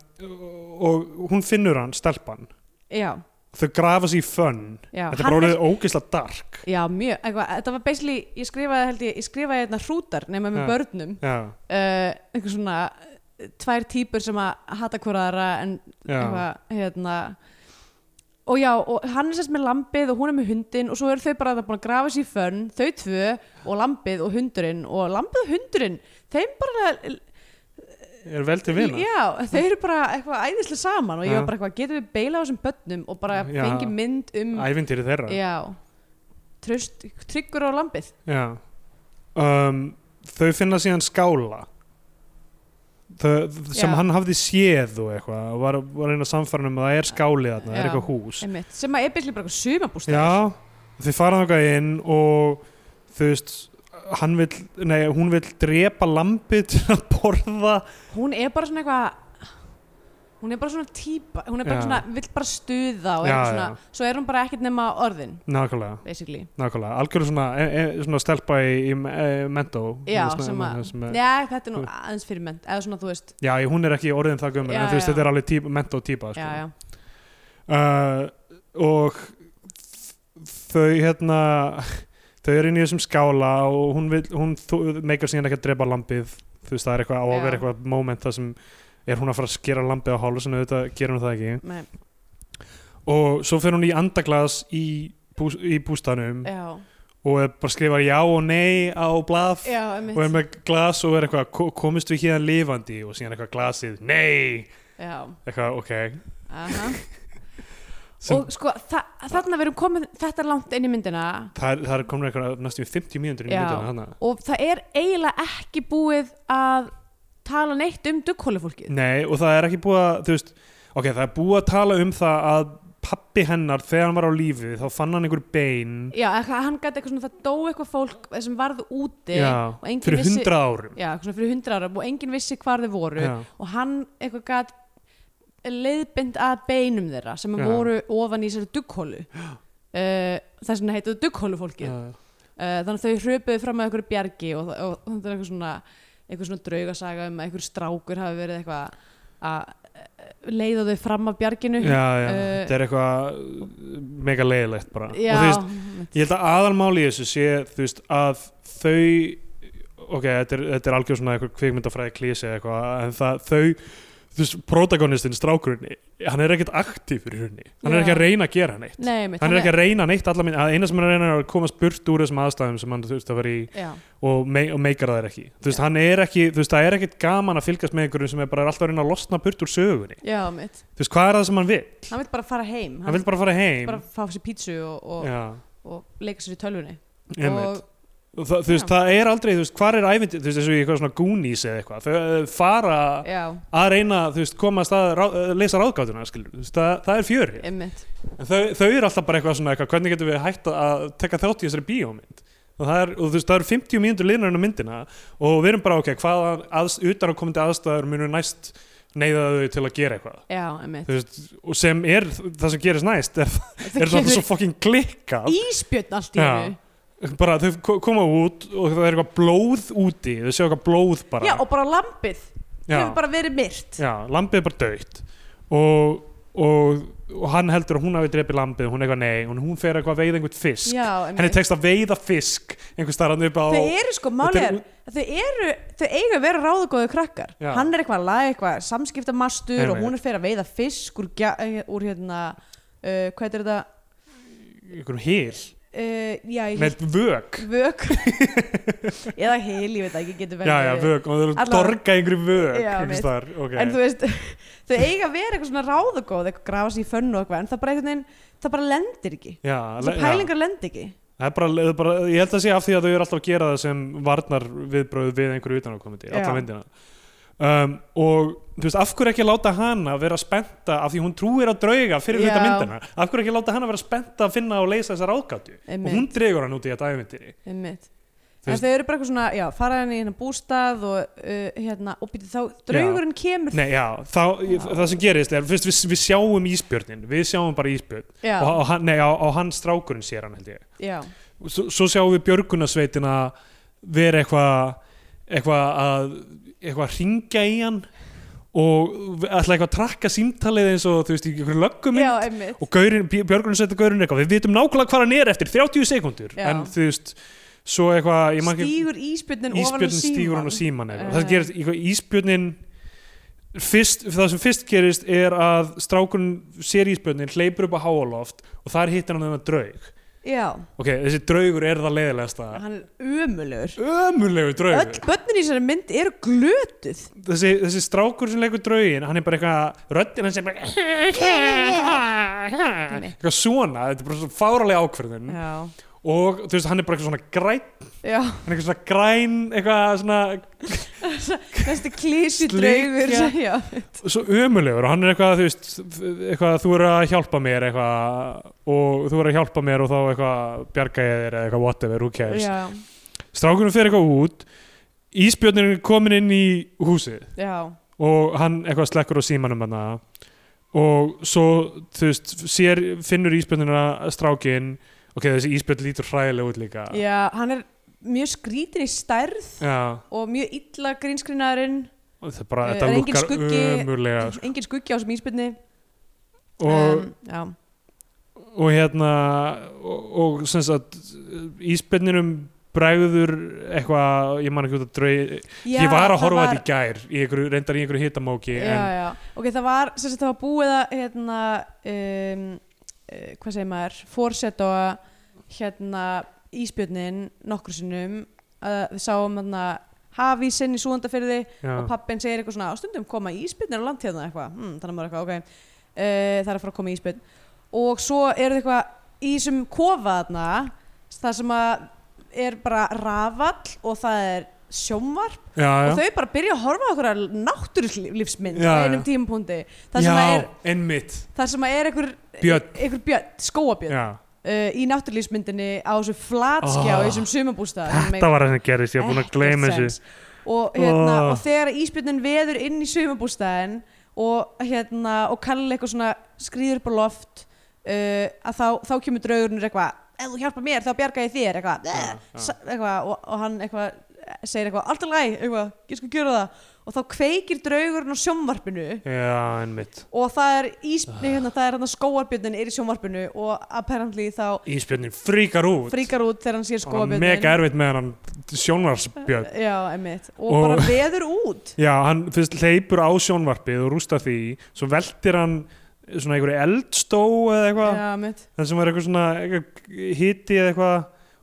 Speaker 2: og hún finnur hann, stelpan
Speaker 3: já,
Speaker 2: þau grafa sér í fönn
Speaker 3: já
Speaker 2: þetta er
Speaker 3: hann
Speaker 2: bara
Speaker 3: er-
Speaker 2: orðið ógisla dark
Speaker 3: Já, mjög, eitthvað, þetta var basically, ég skrifaði held ég, ég skrifaði hérna hrútar nema með
Speaker 2: Já.
Speaker 3: börnum
Speaker 2: já,
Speaker 3: uh, einhver svona eh, tvær típur sem að hata hvoraðara en
Speaker 2: já,
Speaker 3: eitthvað hérna og já, og hann er sérst með lambið og hún er með hundin og svo eru þau bara að búin að grafa sér í fönn þau tvö og lambið og hundurinn og lambið og hundurinn, þeim bara
Speaker 2: er vel til vina
Speaker 3: já, þau eru bara eitthvað æðislega saman og ég
Speaker 2: Já.
Speaker 3: var bara eitthvað, getum við beila á þessum börnum og bara
Speaker 2: Já.
Speaker 3: fengi mynd um
Speaker 2: ævintýri þeirra
Speaker 3: já, tröst, tryggur á lambið
Speaker 2: Já. Um, þau finna síðan skála þau, sem
Speaker 3: Já.
Speaker 2: hann hafði séð og eitthvað og var, var að reyna að samfæra um að það er skáli þarna, það er
Speaker 3: Já.
Speaker 2: eitthvað hús
Speaker 3: Einmitt, sem að er byrjum bara eitthvað sumabústæður
Speaker 2: Já, þau fara þangað inn og þú veist hann vill, nei, hún vill drepa lambið til að borða
Speaker 3: hún er bara svona eitthvað hún er bara svona típa, hún er bara
Speaker 2: Já.
Speaker 3: svona, vill bara stuða og er
Speaker 2: Já,
Speaker 3: eitthvað svona,
Speaker 2: já.
Speaker 3: svo er hún bara ekkert nema orðin,
Speaker 2: nákvæmlega,
Speaker 3: basically.
Speaker 2: nákvæmlega algjörlega svona, e, e, svona stelpa í, í e, mentó
Speaker 3: Já,
Speaker 2: Svona-
Speaker 3: sem að,
Speaker 2: sem er-
Speaker 3: já, þetta er nú aðeins fyrir mennt, eða svona, þú veist,
Speaker 2: já, hún er ekki orðin það gömur
Speaker 3: Já,
Speaker 2: en þú veist,
Speaker 3: já.
Speaker 2: þetta er alveg típ, mentó típa sko.
Speaker 3: já, já,
Speaker 2: uh, og þau hérna þau eru inn í þessum skála og hún, vil, hún þú- meikar síðan ekki að drepa lambið þú veist það er eitthvað á að
Speaker 3: Já.
Speaker 2: vera eitthvað moment þar sem er hún að fara að skera lambið á hálf sem auðvitað gerir hún það ekki
Speaker 3: nei,
Speaker 2: og svo fer hún í andaglas í, bús, í bústanum
Speaker 3: já,
Speaker 2: og er bara skrifar já og nei á blað
Speaker 3: já,
Speaker 2: og er
Speaker 3: emitt,
Speaker 2: með glas og er eitthvað "Ko- komist við hérna lifandi og síðan eitthvað glasið nei,
Speaker 3: já,
Speaker 2: eitthvað ok
Speaker 3: aha.
Speaker 2: Sem-
Speaker 3: og sko, þa þarna verum komin þetta langt inn í myndina
Speaker 2: það, er- það er komin eitthvað næstum í 50 mínútur í
Speaker 3: Já.
Speaker 2: myndina hana.
Speaker 3: og það er eiginlega ekki búið að tala neitt um dugghólufólkið.
Speaker 2: Nei, og það er ekki búið að, þú veist, ok, það er búið að tala um það að pappi hennar, þegar hann var á lífi, þá fann hann einhver bein
Speaker 3: Já, eitthvað- hann gæti eitthvað svona, það dó eitthvað fólk sem varð úti
Speaker 2: já,
Speaker 3: og enginn
Speaker 2: fyrir
Speaker 3: vissi,
Speaker 2: hundrað árum.
Speaker 3: já, eitthvað svona fyrir hundra ára og enginn vissi hvar þau voru
Speaker 2: Já,
Speaker 3: og hann eitthvað gæt leiðbind að beinum þeirra sem
Speaker 2: Já.
Speaker 3: voru ofan í þessari dugghólu uh, þess vegna heituðu dugghólufólkið
Speaker 2: já,
Speaker 3: uh, þannig að þau hröpuðu fram að einhverju bjargi og, og, og þetta er eitthvað svona eitthvað svona draugasaga um að einhver strákur hafi verið eitthvað að eh, leiða þau fram að bjarginu
Speaker 2: já, já
Speaker 3: Eh,
Speaker 2: þetta er eitthvað uh, mega leiðilegt bara.
Speaker 3: já,
Speaker 2: Og þú veist, ég held að aðalmáli í þessu sé, þú veist, að þau, ok, þetta er, þetta er algjör svona eitthvað kvikmyndafræði klísi eða eitthvað, en það, þau, þú veist, protagonistinn, strákurinn, hann er ekkert aktífur í rauninni, hann er
Speaker 3: Já.
Speaker 2: ekki að reyna að gera neitt.
Speaker 3: nei, mitt,
Speaker 2: hann er ekki að reyna neitt allar minn að eina sem hann er að reyna er að komast burt úr þessum aðstæðum sem hann þú veist að vera í
Speaker 3: já,
Speaker 2: og, me og meikar það ekki þú veist, hann er ekki, þú veist, það er ekkit gaman að fylgjast með einhverjum sem er bara alltaf að reyna að losna burt úr sögunni,
Speaker 3: já, mitt
Speaker 2: þú veist, hvað er það sem hann vil
Speaker 3: hann vil bara fara heim,
Speaker 2: hann vil bara fara heim
Speaker 3: bara fá sér pítsu og,
Speaker 2: já,
Speaker 3: og, og leika sér í tölvunni
Speaker 2: einmitt
Speaker 3: og,
Speaker 2: Og Það, þú veist, það er aldrei, þú veist, hvar er ævindir þú veist, eins og í eitthvað svona Goonies eða eitthvað þau eh, fara
Speaker 3: já,
Speaker 2: að reyna, þú veist, komast að rá, eh, leysa ráðgátuna, skilur, þú veist, það, það er fjöri
Speaker 3: einmitt
Speaker 2: En þau, þau eru alltaf bara eitthvað svona eitthvað, hvernig getum við hægt að taka þátt í þessari bíómynd og það er, og þú veist, það eru 50 mínútur liðnar en á myndina og við erum bara, ok, hvaða aðs, utan á komandi aðstæður munu næst neyða þau til að gera eitthvað
Speaker 3: já, einmitt
Speaker 2: þú veist, og sem er það sem gerist næst, er,
Speaker 3: það
Speaker 2: er það svo fucking klikka
Speaker 3: íspjörn allt í
Speaker 2: Já.
Speaker 3: hennu
Speaker 2: bara þau ko- koma út og það er eitthvað blóð úti þau séu eitthvað blóð bara
Speaker 3: Já, og bara lampið
Speaker 2: Já.
Speaker 3: hefur bara verið myrt
Speaker 2: Já, lambið er bara döitt og, og, og hann heldur að hún hafi drepið lambið, hún er eitthvað nei og hún fer eitthvað að veiða einhvern fisk
Speaker 3: Já, einmitt.
Speaker 2: henni tekst að veiða fisk einhvern starðan upp á
Speaker 3: Þau eru sko,
Speaker 2: Þetta
Speaker 3: málið
Speaker 2: er
Speaker 3: er að Þau eru, þau eiga að vera ráðugóðu krakkar
Speaker 2: Já.
Speaker 3: Hann er eitthvað að laga eitthvað samskiptamastur
Speaker 2: Einmitt.
Speaker 3: og hún er fyrir að veiða fisk úr, gja, eh, úr hérna uh, hvað er þetta
Speaker 2: einhvern hýl
Speaker 3: uh, Já, ég
Speaker 2: með vök
Speaker 3: vök eða heil, ég veit það ekki
Speaker 2: Já,
Speaker 3: getur verið
Speaker 2: já, vök, og þau eru að
Speaker 3: Allavega-
Speaker 2: dorga einhverju vök
Speaker 3: Já,
Speaker 2: einhvers
Speaker 3: mitt.
Speaker 2: staðar, ok.
Speaker 3: En þú veist, þau eiga að vera eitthvað svona ráðugóð eitthvað grafa sér í fönnu og eitthvað en það bara einhvern veginn, það bara lendir ekki
Speaker 2: Já, le-
Speaker 3: Þessar
Speaker 2: já.
Speaker 3: pælingar lendir ekki
Speaker 2: Það er bara, það er bara, ég held að sé af því að þau eru alltaf að gera það sem varnar viðbröðu við einhverju utanákomandi,
Speaker 3: Já.
Speaker 2: alltaf myndina um, og þú veist, af hverju ekki láta hana vera spennta af því hún trúir að drauga fyrir hluta
Speaker 3: Já.
Speaker 2: myndina af hverju ekki láta hana vera spennta að finna og leysa þessar ágætu og
Speaker 3: Einmitt.
Speaker 2: hún dregur hann út í þetta æfintýri
Speaker 3: Einmitt.
Speaker 2: Þú
Speaker 3: En
Speaker 2: veist-
Speaker 3: þau eru bara eitthvað svona, já, fara henni í hennar bústað og uh, hérna, og býti þá, draugurinn kemur
Speaker 2: Nei, já, þá, það sem gerist er fyrst við, við sjáum ísbjörnin, við sjáum bara ísbjörn
Speaker 3: Já,
Speaker 2: og, og, hann- nei, á, á hann strákurinn sér hann held ég
Speaker 3: já,
Speaker 2: svo, svo sjáum við björgunarsveitina vera eitthvað eitthvað að eitthvað ringja í hann og alltaf eitthvað að trakka símtalið eins og þú veist í einhverju löggum
Speaker 3: já, einmitt
Speaker 2: og gaurin, björgunarsveitin gaurin eitthvað við vitum nákvæmlega hvað hann er eftir 30 sekundur
Speaker 3: Já.
Speaker 2: en þú veist svo eitthvað ég man ekki-
Speaker 3: Stígur íspjörnin ofan á
Speaker 2: ísbjörnin stígur
Speaker 3: síman
Speaker 2: hann á síman uh.
Speaker 3: Eh.
Speaker 2: það gerist, eitthvað, ísbjörnin fyrst, það sem fyrst gerist er að strákun sér ísbjörnin hleypur upp á háaloft og þar hittir hann þennan draug
Speaker 3: Já,
Speaker 2: ok, þessi draugur er það leiðilegasta
Speaker 3: hann er ömulegur
Speaker 2: ömulegu draugur
Speaker 3: Öll börnin í þessari mynd eru glötuð
Speaker 2: þessi, þessi strákur sem leikur draugin hann er bara eitthvað, röddin hans er bara eitthvað svona, þetta er bara svona fáralega ákverðin
Speaker 3: Já,
Speaker 2: og þú veist, hann er bara eitthvað svona græn
Speaker 3: já,
Speaker 2: hann er eitthvað svona græn, eitthvað svona
Speaker 3: þessi klísi
Speaker 2: Slikja.
Speaker 3: draugur Já,
Speaker 2: svo ömulegur og hann er eitthvað, þú veist eitthvað, þú eru að hjálpa mér eitthvað og þú eru að hjálpa mér og þá eitthvað bjarga ég þér eða eitthvað whatever, who cares
Speaker 3: já,
Speaker 2: strákurinn fer eitthvað út ísbjörnin er komin inn í húsið
Speaker 3: já
Speaker 2: og hann eitthvað slekkur á símanum hana og svo þú veist, sér, finnur íspjölduna strákin, ok, þessi íspjöld lítur hræðilega út líka
Speaker 3: já, hann er mjög skrítin í stærð
Speaker 2: Já,
Speaker 3: og mjög illa grínskrinarinn
Speaker 2: og þetta bara,
Speaker 3: Eh,
Speaker 2: þetta
Speaker 3: er engin
Speaker 2: lukkar
Speaker 3: skuggi-
Speaker 2: ömurlega sko.
Speaker 3: engin skuggi á þessum íspilni Um.
Speaker 2: og,
Speaker 3: já,
Speaker 2: og hérna og, og sem sagt íspjöldinum bregður eitthvað, ég man ekki út að draug
Speaker 3: já,
Speaker 2: ég var að
Speaker 3: það
Speaker 2: horfa
Speaker 3: var-
Speaker 2: þetta í gær í einhverju, reyndar í einhverju hitamóki
Speaker 3: já, já. ok, það var, sem sagt, það var búið að hérna um, uh, hvað segir maður, fórseta hérna íspjörnin nokkur sinnum uh, við sáum hérna hafísinn í súandafyrði
Speaker 2: en, já,
Speaker 3: og pappin segir eitthvað svona á stundum koma íspjörnir á landtíðna eitthvað hmm, þannig að maður er eitthvað, ok, uh, það er að fara að koma íspjörn og svo eru þau eitthvað í þessum kofa þarna það sem að er bara rafall og það er sjómvarp
Speaker 2: já, já.
Speaker 3: og þau bara byrja að horfa á okkur að náttúrulífsmynd
Speaker 2: Já,
Speaker 3: á
Speaker 2: já.
Speaker 3: einum tímapunkti það sem, að er,
Speaker 2: einmitt
Speaker 3: það sem að er einhver
Speaker 2: Björn.
Speaker 3: einhver björn, skóabjörn
Speaker 2: já.
Speaker 3: uh, í náttúrulífsmyndinni á þessu flatskjá
Speaker 2: Ah,
Speaker 3: í þessum sumabústa
Speaker 2: þetta var það sem gerist, ég er búin að gleyma þessu
Speaker 3: og, hérna,
Speaker 2: Ah.
Speaker 3: og þegar íspjörnin veður inn í sumabústaðin og, hérna, og kallir eitthvað svona skrýður upp á loft uh, að þá, þá kemur draugurnir eitthvað ef þú hjálpa mér þá bjarga ég þér eitthvað,
Speaker 2: Já,
Speaker 3: ja. eitthvað og, og hann eitthvað eh, segir eitthvað, allt er læg, eitthvað, ég skal gjöra það og þá kveikir draugurinn á sjónvarpinu
Speaker 2: já, einmitt
Speaker 3: og það er
Speaker 2: Ah.
Speaker 3: íspjörnin, hérna, það er hérna skóarbjörnin er í sjónvarpinu og apparently þá
Speaker 2: íspjörnin fríkar út
Speaker 3: fríkar út þegar hann sér
Speaker 2: og hann
Speaker 3: skóarbjörnin
Speaker 2: mega erfitt með hann sjónvarsbjörn
Speaker 3: Já, einmitt, og,
Speaker 2: Og-
Speaker 3: bara veður út
Speaker 2: já, hann fyrst hleypur á sjónvarpið og rústar því, svo veltir hann svona einhverju eldstó eða eitthvað,
Speaker 3: Já, einmitt
Speaker 2: það sem var eitthvað svona eitthvað hiti eða eitthvað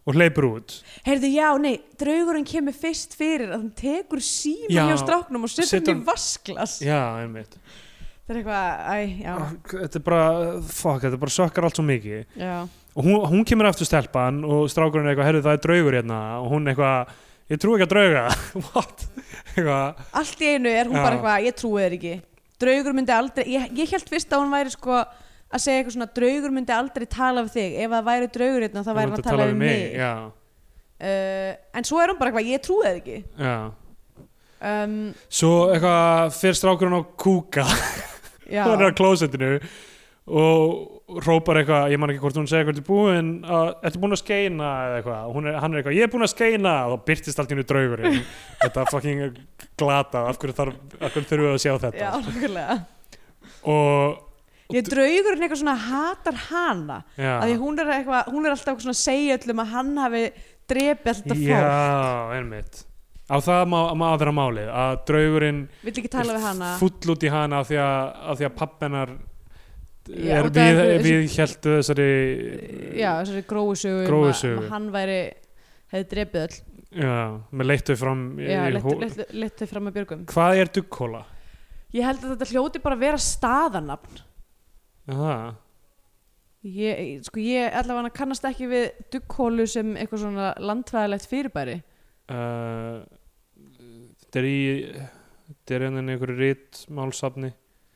Speaker 2: og hleypur út
Speaker 3: Heyrðu, já, nei, draugurinn kemur fyrst fyrir að hann tekur síma
Speaker 2: Já,
Speaker 3: hjá stráknum og setur
Speaker 2: setur
Speaker 3: hann í
Speaker 2: hann-
Speaker 3: vasklas.
Speaker 2: já, einmitt
Speaker 3: Það er eitthvað, æ, já,
Speaker 2: Ah, þetta er bara, fuck, þetta bara sökkar allt svo mikið
Speaker 3: já,
Speaker 2: og hún, hún kemur aftur stelpan og strákurinn er eitthvað, herru það er draugur hérna og hún eitthvað, ég trú ekki að drauga what, eitthvað
Speaker 3: Allt í einu er hún
Speaker 2: Já.
Speaker 3: bara eitthvað, ég trúi þér ekki. Draugur myndi aldrei, ég, ég held fyrst að hún væri sko að segja eitthvað svona, draugur myndi aldrei tala við þig. Ef það væri draugur hérna, þá
Speaker 2: "Þú
Speaker 3: væri hann
Speaker 2: ert
Speaker 3: að tala við mig.
Speaker 2: já,
Speaker 3: Uh, en svo er hún bara eitthvað, ég trúi þér ekki.
Speaker 2: já
Speaker 3: Um,
Speaker 2: svo eitthvað, fyrir strákurinn á kúka
Speaker 3: já,
Speaker 2: hún er á klósettinu og rópar eitthvað, ég man ekki hvort hún segir eitthvað til búin, að, ertu búin að skeina eða eitthvað, Og hún er, hann er eitthvað, ég er búin að skeina og þá byrtist allt í hennu draugurinn þetta fucking glatað, af hverju, þarf, af hverju þurfum við að sjá þetta
Speaker 3: já, nákvæmlega.
Speaker 2: og
Speaker 3: Ég draugurinn eitthvað svona hatar hana.
Speaker 2: já,
Speaker 3: að því hún er, eitthva, hún er alltaf eitthvað svona að segja öllum að hann hafi drepið alltaf fólk,
Speaker 2: já, einmitt á það má, má að vera málið að draugurinn
Speaker 3: vill ekki tala við hana
Speaker 2: full út í hana af því að, af því að pappennar
Speaker 3: Já,
Speaker 2: er
Speaker 3: út af
Speaker 2: við,
Speaker 3: einhverju-
Speaker 2: við heldu þessari
Speaker 3: já, þessari gróu sögu, um
Speaker 2: Gróu
Speaker 3: að-
Speaker 2: sögu.
Speaker 3: um að hann væri hefði drepið öll
Speaker 2: já, með leittu fram í-
Speaker 3: já,
Speaker 2: í
Speaker 3: leitt-
Speaker 2: hó-
Speaker 3: leitt- leitt þau fram að björgum
Speaker 2: hvað er dukkóla?
Speaker 3: ég held að þetta hljóti bara að vera staðanafn
Speaker 2: Aha.
Speaker 3: ég, sko ég allavega kannast ekki við dugghólu sem eitthvað svona landfræðilegt fyrirbæri
Speaker 2: Uh, þetta er í þetta er einhvern einhverju rítmálsafni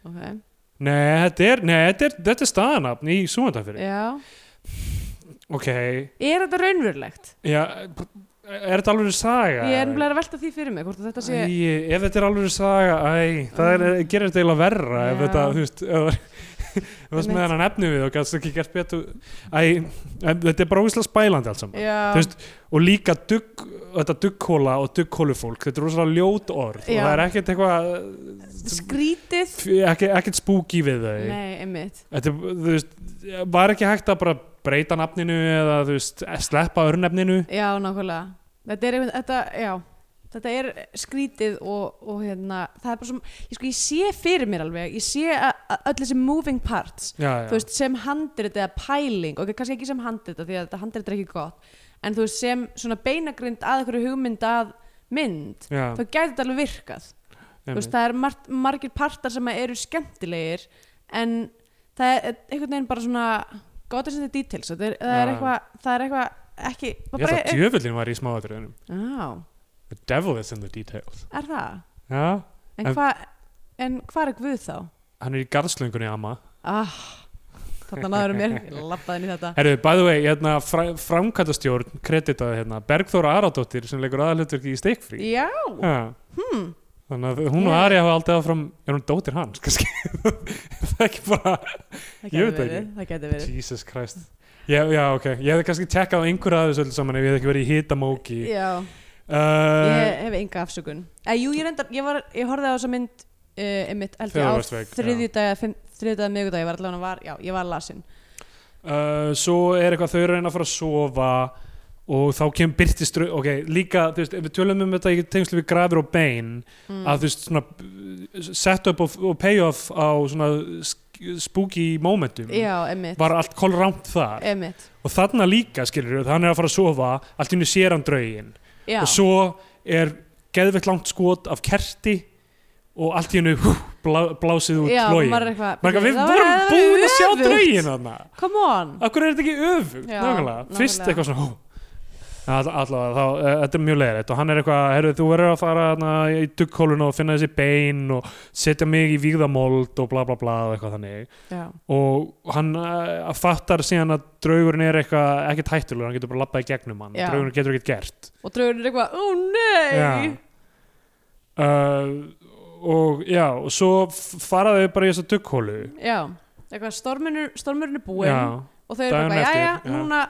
Speaker 3: ok,
Speaker 2: Nei, þetta er, nei, þetta er, þetta er staðanafn í súmandafyrir.
Speaker 3: já
Speaker 2: Ok,
Speaker 3: er þetta raunverulegt?
Speaker 2: já, er þetta alveg saga?
Speaker 3: ég er
Speaker 2: eða?
Speaker 3: nefnilega að velta því fyrir mig hvort að þetta sé
Speaker 2: Æ, ef þetta er alveg saga, æ, það er, gerir þetta eiginlega verra ef
Speaker 3: Já.
Speaker 2: þetta, þú veist, ef það- ef það sem
Speaker 3: Einmitt.
Speaker 2: með hann efni við og gæst ekki gert betur æ, en þetta er bara úslega spælandi allt saman
Speaker 3: já,
Speaker 2: Þú veist, og líka dugg, þetta dugghóla og dugghólufólk, þetta er rosalega ljót orð
Speaker 3: Já.
Speaker 2: og það er ekkert eitthvað eh,
Speaker 3: skrítið
Speaker 2: ekki, ekkert spooky við þau
Speaker 3: nei, einmitt
Speaker 2: þetta, er, þú veist, var ekki hægt að bara breyta nafninu eða, þú veist, sleppa örnefninu
Speaker 3: Já, nákvæmlega Þetta er, einhvern- þetta, já, þetta er skrítið og, og hérna, það er bara svona ég, sko, ég sé fyrir mér alveg, ég sé að að öll þessi moving parts
Speaker 2: já, já,
Speaker 3: þú veist, sem handrit eða pæling ok, kannski ekki sem handrit af því að þetta handrit er ekki gott en þú veist, sem svona beinagrind að einhverju hugmynd að mynd
Speaker 2: já,
Speaker 3: þá gæti þetta alveg virkað þú veist,
Speaker 2: einmitt.
Speaker 3: það er mar margir partar sem eru skemmtilegir en það er einhvern veginn bara svona gott að setja details það er, það er
Speaker 2: Já.
Speaker 3: eitthvað, það er eitthvað ekki
Speaker 2: ég ætla
Speaker 3: e-
Speaker 2: að djöfullin var í smáatriðunum
Speaker 3: Já,
Speaker 2: The devil is in the details
Speaker 3: er það?
Speaker 2: Já,
Speaker 3: En,
Speaker 2: En-
Speaker 3: hva, en hvað er Guð þá?
Speaker 2: hann er í garðslöngunni amma
Speaker 3: Ah, þarna náður mér, ég lappaði inn í þetta.
Speaker 2: Herru, by the way, hérna, fra, framkvæmtastjórn kreditaði hérna, Bergþóra Aradóttir sem leikur aðalutverki í Steikfrí
Speaker 3: Já,
Speaker 2: hmm. þannig að hún og
Speaker 3: Yeah.
Speaker 2: Ari hafa aldrei áfram er hún dótir hans kannski það er ekki bara
Speaker 3: það
Speaker 2: Ég
Speaker 3: gæti
Speaker 2: veit það
Speaker 3: verið, það gæti verið
Speaker 2: Jesus Christ já, já ok, ég hefði kannski tekkað á einhverja af þessu öllu saman ef ég hefði ekki verið í hitamóki yeah.
Speaker 3: já,
Speaker 2: uh,
Speaker 3: ég hef enga afsökun eh, jú, ég reyndar, ég, var, ég horfði á þessa mynd uh, einmitt, held
Speaker 2: Þegar
Speaker 3: ég á
Speaker 2: þú varst veik, já.
Speaker 3: þriðjudag þriðjudag, miðgudag, ég var allavega var, já, ég var lasin
Speaker 2: uh, svo er eitthvað þau eru að reyna að fara að sofa og þá kemur byrtistru ok, líka, þú veist, ef við tölum um þetta í tengslu við grafir og bein
Speaker 3: mm.
Speaker 2: að þú veist, svona uh, set-up og, og payoff á svona sk- spooky momentum
Speaker 3: já, einmitt,
Speaker 2: var allt kolrámt þar
Speaker 3: einmitt
Speaker 2: og þarna líka skilur við, hann er að fara að sofa allt í hennu sér hann draugin
Speaker 3: já,
Speaker 2: og svo er geðveitt langt skot af kerti og allt í hennu hú, blá, blásið út
Speaker 3: já,
Speaker 2: login
Speaker 3: maður er eitthvað
Speaker 2: Marga, við
Speaker 3: það var-
Speaker 2: vorum
Speaker 3: það var
Speaker 2: búin að sjá
Speaker 3: öfugt.
Speaker 2: draugin þarna
Speaker 3: come on
Speaker 2: Akkur er þetta ekki öfugt,
Speaker 3: Já,
Speaker 2: nákvæmlega Fyrst
Speaker 3: nákvæmlega.
Speaker 2: eitthvað svona hú. All- Allavega, þá, eh, þetta er mjög leiðrætt og hann er eitthvað, heyrðu, þú verður að fara hana, í dugghólun og finna þessi bein og setja mig í vígðamóld og bla bla bla og eitthvað þannig
Speaker 3: já,
Speaker 2: og hann uh, fattar síðan að draugurinn er eitthvað ekkert hættulegur, hann getur bara labbað í gegnum hann
Speaker 3: Já.
Speaker 2: draugurinn getur ekkert gert
Speaker 3: og draugurinn er eitthvað, ó nei
Speaker 2: Já. uh, og já, og svo f- fara þau bara í þessa dugghólu
Speaker 3: já, eitthvað stormurinn stormurinn er búinn
Speaker 2: já,
Speaker 3: og þau eru bara,
Speaker 2: Daginn
Speaker 3: eitthvað,
Speaker 2: eftir,
Speaker 3: jæja,
Speaker 2: já.
Speaker 3: núna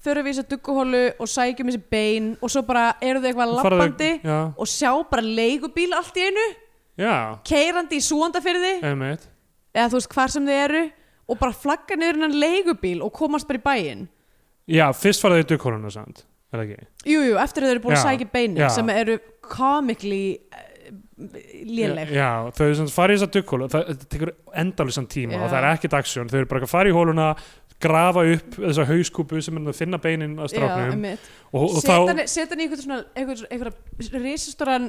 Speaker 3: förum við í þessu dugguhólu og sækjum þessi bein og svo bara eru þau eitthvað
Speaker 2: og fara
Speaker 3: lappandi
Speaker 2: þau, já,
Speaker 3: og sjá bara leigubíl allt í einu
Speaker 2: já,
Speaker 3: keirandi í súandafyrði
Speaker 2: einmitt
Speaker 3: eða þú veist hvar sem þið eru og bara flagga niður innan leigubíl og komast bara í bæinn
Speaker 2: já, fyrst fara þau í dugghóluna samt, er það ekki
Speaker 3: Jú, jú, eftir að þau eru búin að
Speaker 2: Já,
Speaker 3: sækja beinin
Speaker 2: já.
Speaker 3: sem eru komikli eh, léleg
Speaker 2: Já, já, þau sem fara í þessa dugghólu það þetta tekur endalvisan tíma
Speaker 3: Já.
Speaker 2: og það er ekkert aksjón, þau eru bara að fara í hóluna grafa upp þessa hauskúpu sem er að finna beinin að stráknum
Speaker 3: einmitt.
Speaker 2: og, og
Speaker 3: setja
Speaker 2: þá,
Speaker 3: hann setja hann í eitthvað svona eitthvað, eitthvað risastoran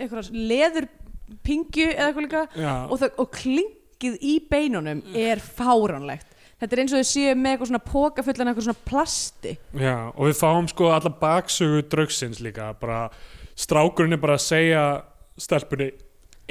Speaker 3: eitthvað leður pingju eða eitthvað líka
Speaker 2: já, Mm.
Speaker 3: og, það, og klingið í beinunum er fáránlegt þetta er eins og þau séu með eitthvað svona póka fullan eitthvað svona plasti
Speaker 2: Já, og við fáum sko alla baksögu draugsins líka, bara strákurinn er bara að segja stelpunni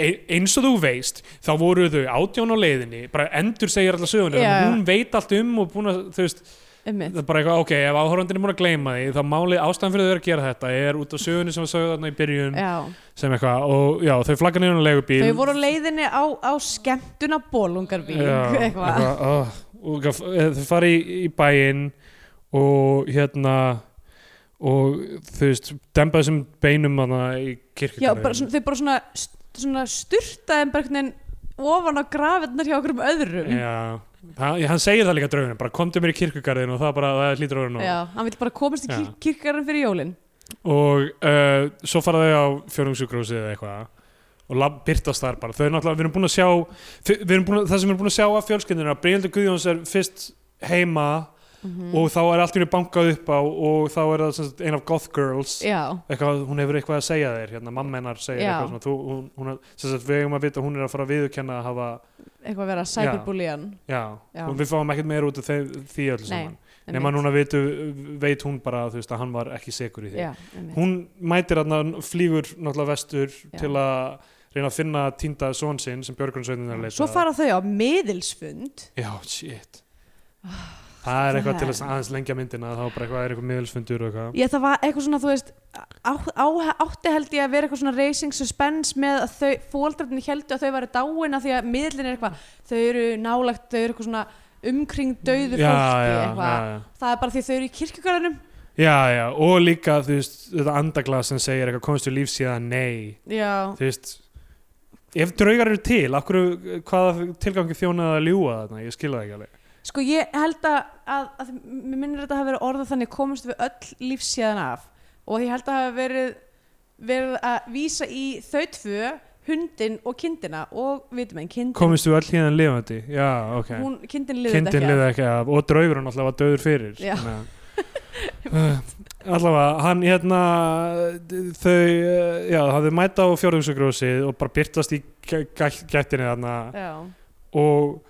Speaker 2: "E- eins og þú veist þá voru þau átján á leiðinni bara endur segir alla sögunni,
Speaker 3: Já,
Speaker 2: þannig
Speaker 3: já.
Speaker 2: að hún veit allt um og búin að, þú veist,
Speaker 3: einmitt,
Speaker 2: það er bara eitthvað ok, ef áhorfandinn er búin að gleyma því, þá máli ástæðan fyrir þau að gera þetta, er út af sögunni sem að sögðu þarna í byrjun,
Speaker 3: já
Speaker 2: sem eitthvað og já, þau flagga niður á legubíl
Speaker 3: þau voru á leiðinni á, á skemmtuna bólungarvík eitthvað
Speaker 2: eitthvað, ah, og gaf- eh, þau fara í, í bæinn og hérna og þú veist dempa þessum beinum hana í kirkjugarðinum
Speaker 3: já, bara, svona, þau bara svona, st- svona styrtaði bara einhvern veginn ofan á grafirnar hjá okkur um öðrum
Speaker 2: já, hann, hann segir það líka drauginu bara komdu mér í kirkjugarðin og það bara það hlýtur að vera nóg
Speaker 3: Já, hann vill bara komast í
Speaker 2: Já.
Speaker 3: kir kirkarinn fyrir jólin
Speaker 2: og uh, svo fara þau á fjörungsjúkrúsi eða eitthvað og lab, byrtast þar bara, þau er náttúrulega, við erum búin að sjá þau- við erum búin að, það sem við erum búin að sjá af fjölskyndinu að Brynhildur Guðjóns er fyrst heima Mm. og þá er allt í henni bankað upp á og þá er það sem sagt ein af goth girls
Speaker 3: Já,
Speaker 2: eitthvað, hún hefur eitthvað að segja þér hérna, mamma hennar segir
Speaker 3: Já.
Speaker 2: eitthvað svona þú, hún, hún, er- sem sagt, við eigum að vita að hún er að fara að viðurkenna að hafa,
Speaker 3: eitthvað að vera cyberbullian
Speaker 2: já,
Speaker 3: Já.
Speaker 2: og við fáum ekkert meira út af því, því öllu saman nema núna vitu, veit hún bara þú veist, að hann var ekki segur í því
Speaker 3: Já, einmitt.
Speaker 2: hún mætir hann, flýgur náttúrulega vestur til að reyna að finna týnda són sinn sem Björgunsveitin er að leita
Speaker 3: Svo fara þau á miðilsfund
Speaker 2: já, shit það er eitthvað
Speaker 3: Ah, það
Speaker 2: til
Speaker 3: er-
Speaker 2: að aðeins lengja myndina þá bara eitthvað er eitthvað miðelsfundur og eitthvað
Speaker 3: Ég, það var eitthvað svona, þú veist, á, á, átti held ég að vera eitthvað svona racing suspense með að þau, fóldrarnir heldu að þau væri dáin af því að miðlinn er eitthvað, þau eru nálagt, þau eru eitthvað svona umkring dauðu
Speaker 2: já,
Speaker 3: fólki,
Speaker 2: já,
Speaker 3: eitthvað.
Speaker 2: já, já.
Speaker 3: Það er bara því þau eru í kirkjugarðinum.
Speaker 2: Já, já, og líka þú veist, þetta andaglas sem segir eitthvað komist til líf síðan nei,
Speaker 3: Já,
Speaker 2: þú veist ef draugar eru til, akkur hvaða tilgangi þjónaði að ljúga þarna ég skilja það ekki alveg
Speaker 3: sko ég held að, að, að mér minnir þetta að hafa verið orðað þannig komumst við öll lífsíðan af og ég held að hafa verið, verið að vísa í þau tvö, hundin og kindina og vitum einn, kindin,
Speaker 2: komist við öll hérna lifandi, já, ok
Speaker 3: hún, kindin liðið
Speaker 2: kindin
Speaker 3: ekki af.
Speaker 2: liði ekki af og draugurinn alltaf var döður fyrir
Speaker 3: Já.
Speaker 2: þannig að- Uh, allavega, hann hérna þau, uh, já, hafði mæta á fjórðungsugrósið og bara byrtast í gæ- gæ- gættinni þarna
Speaker 3: Já.
Speaker 2: og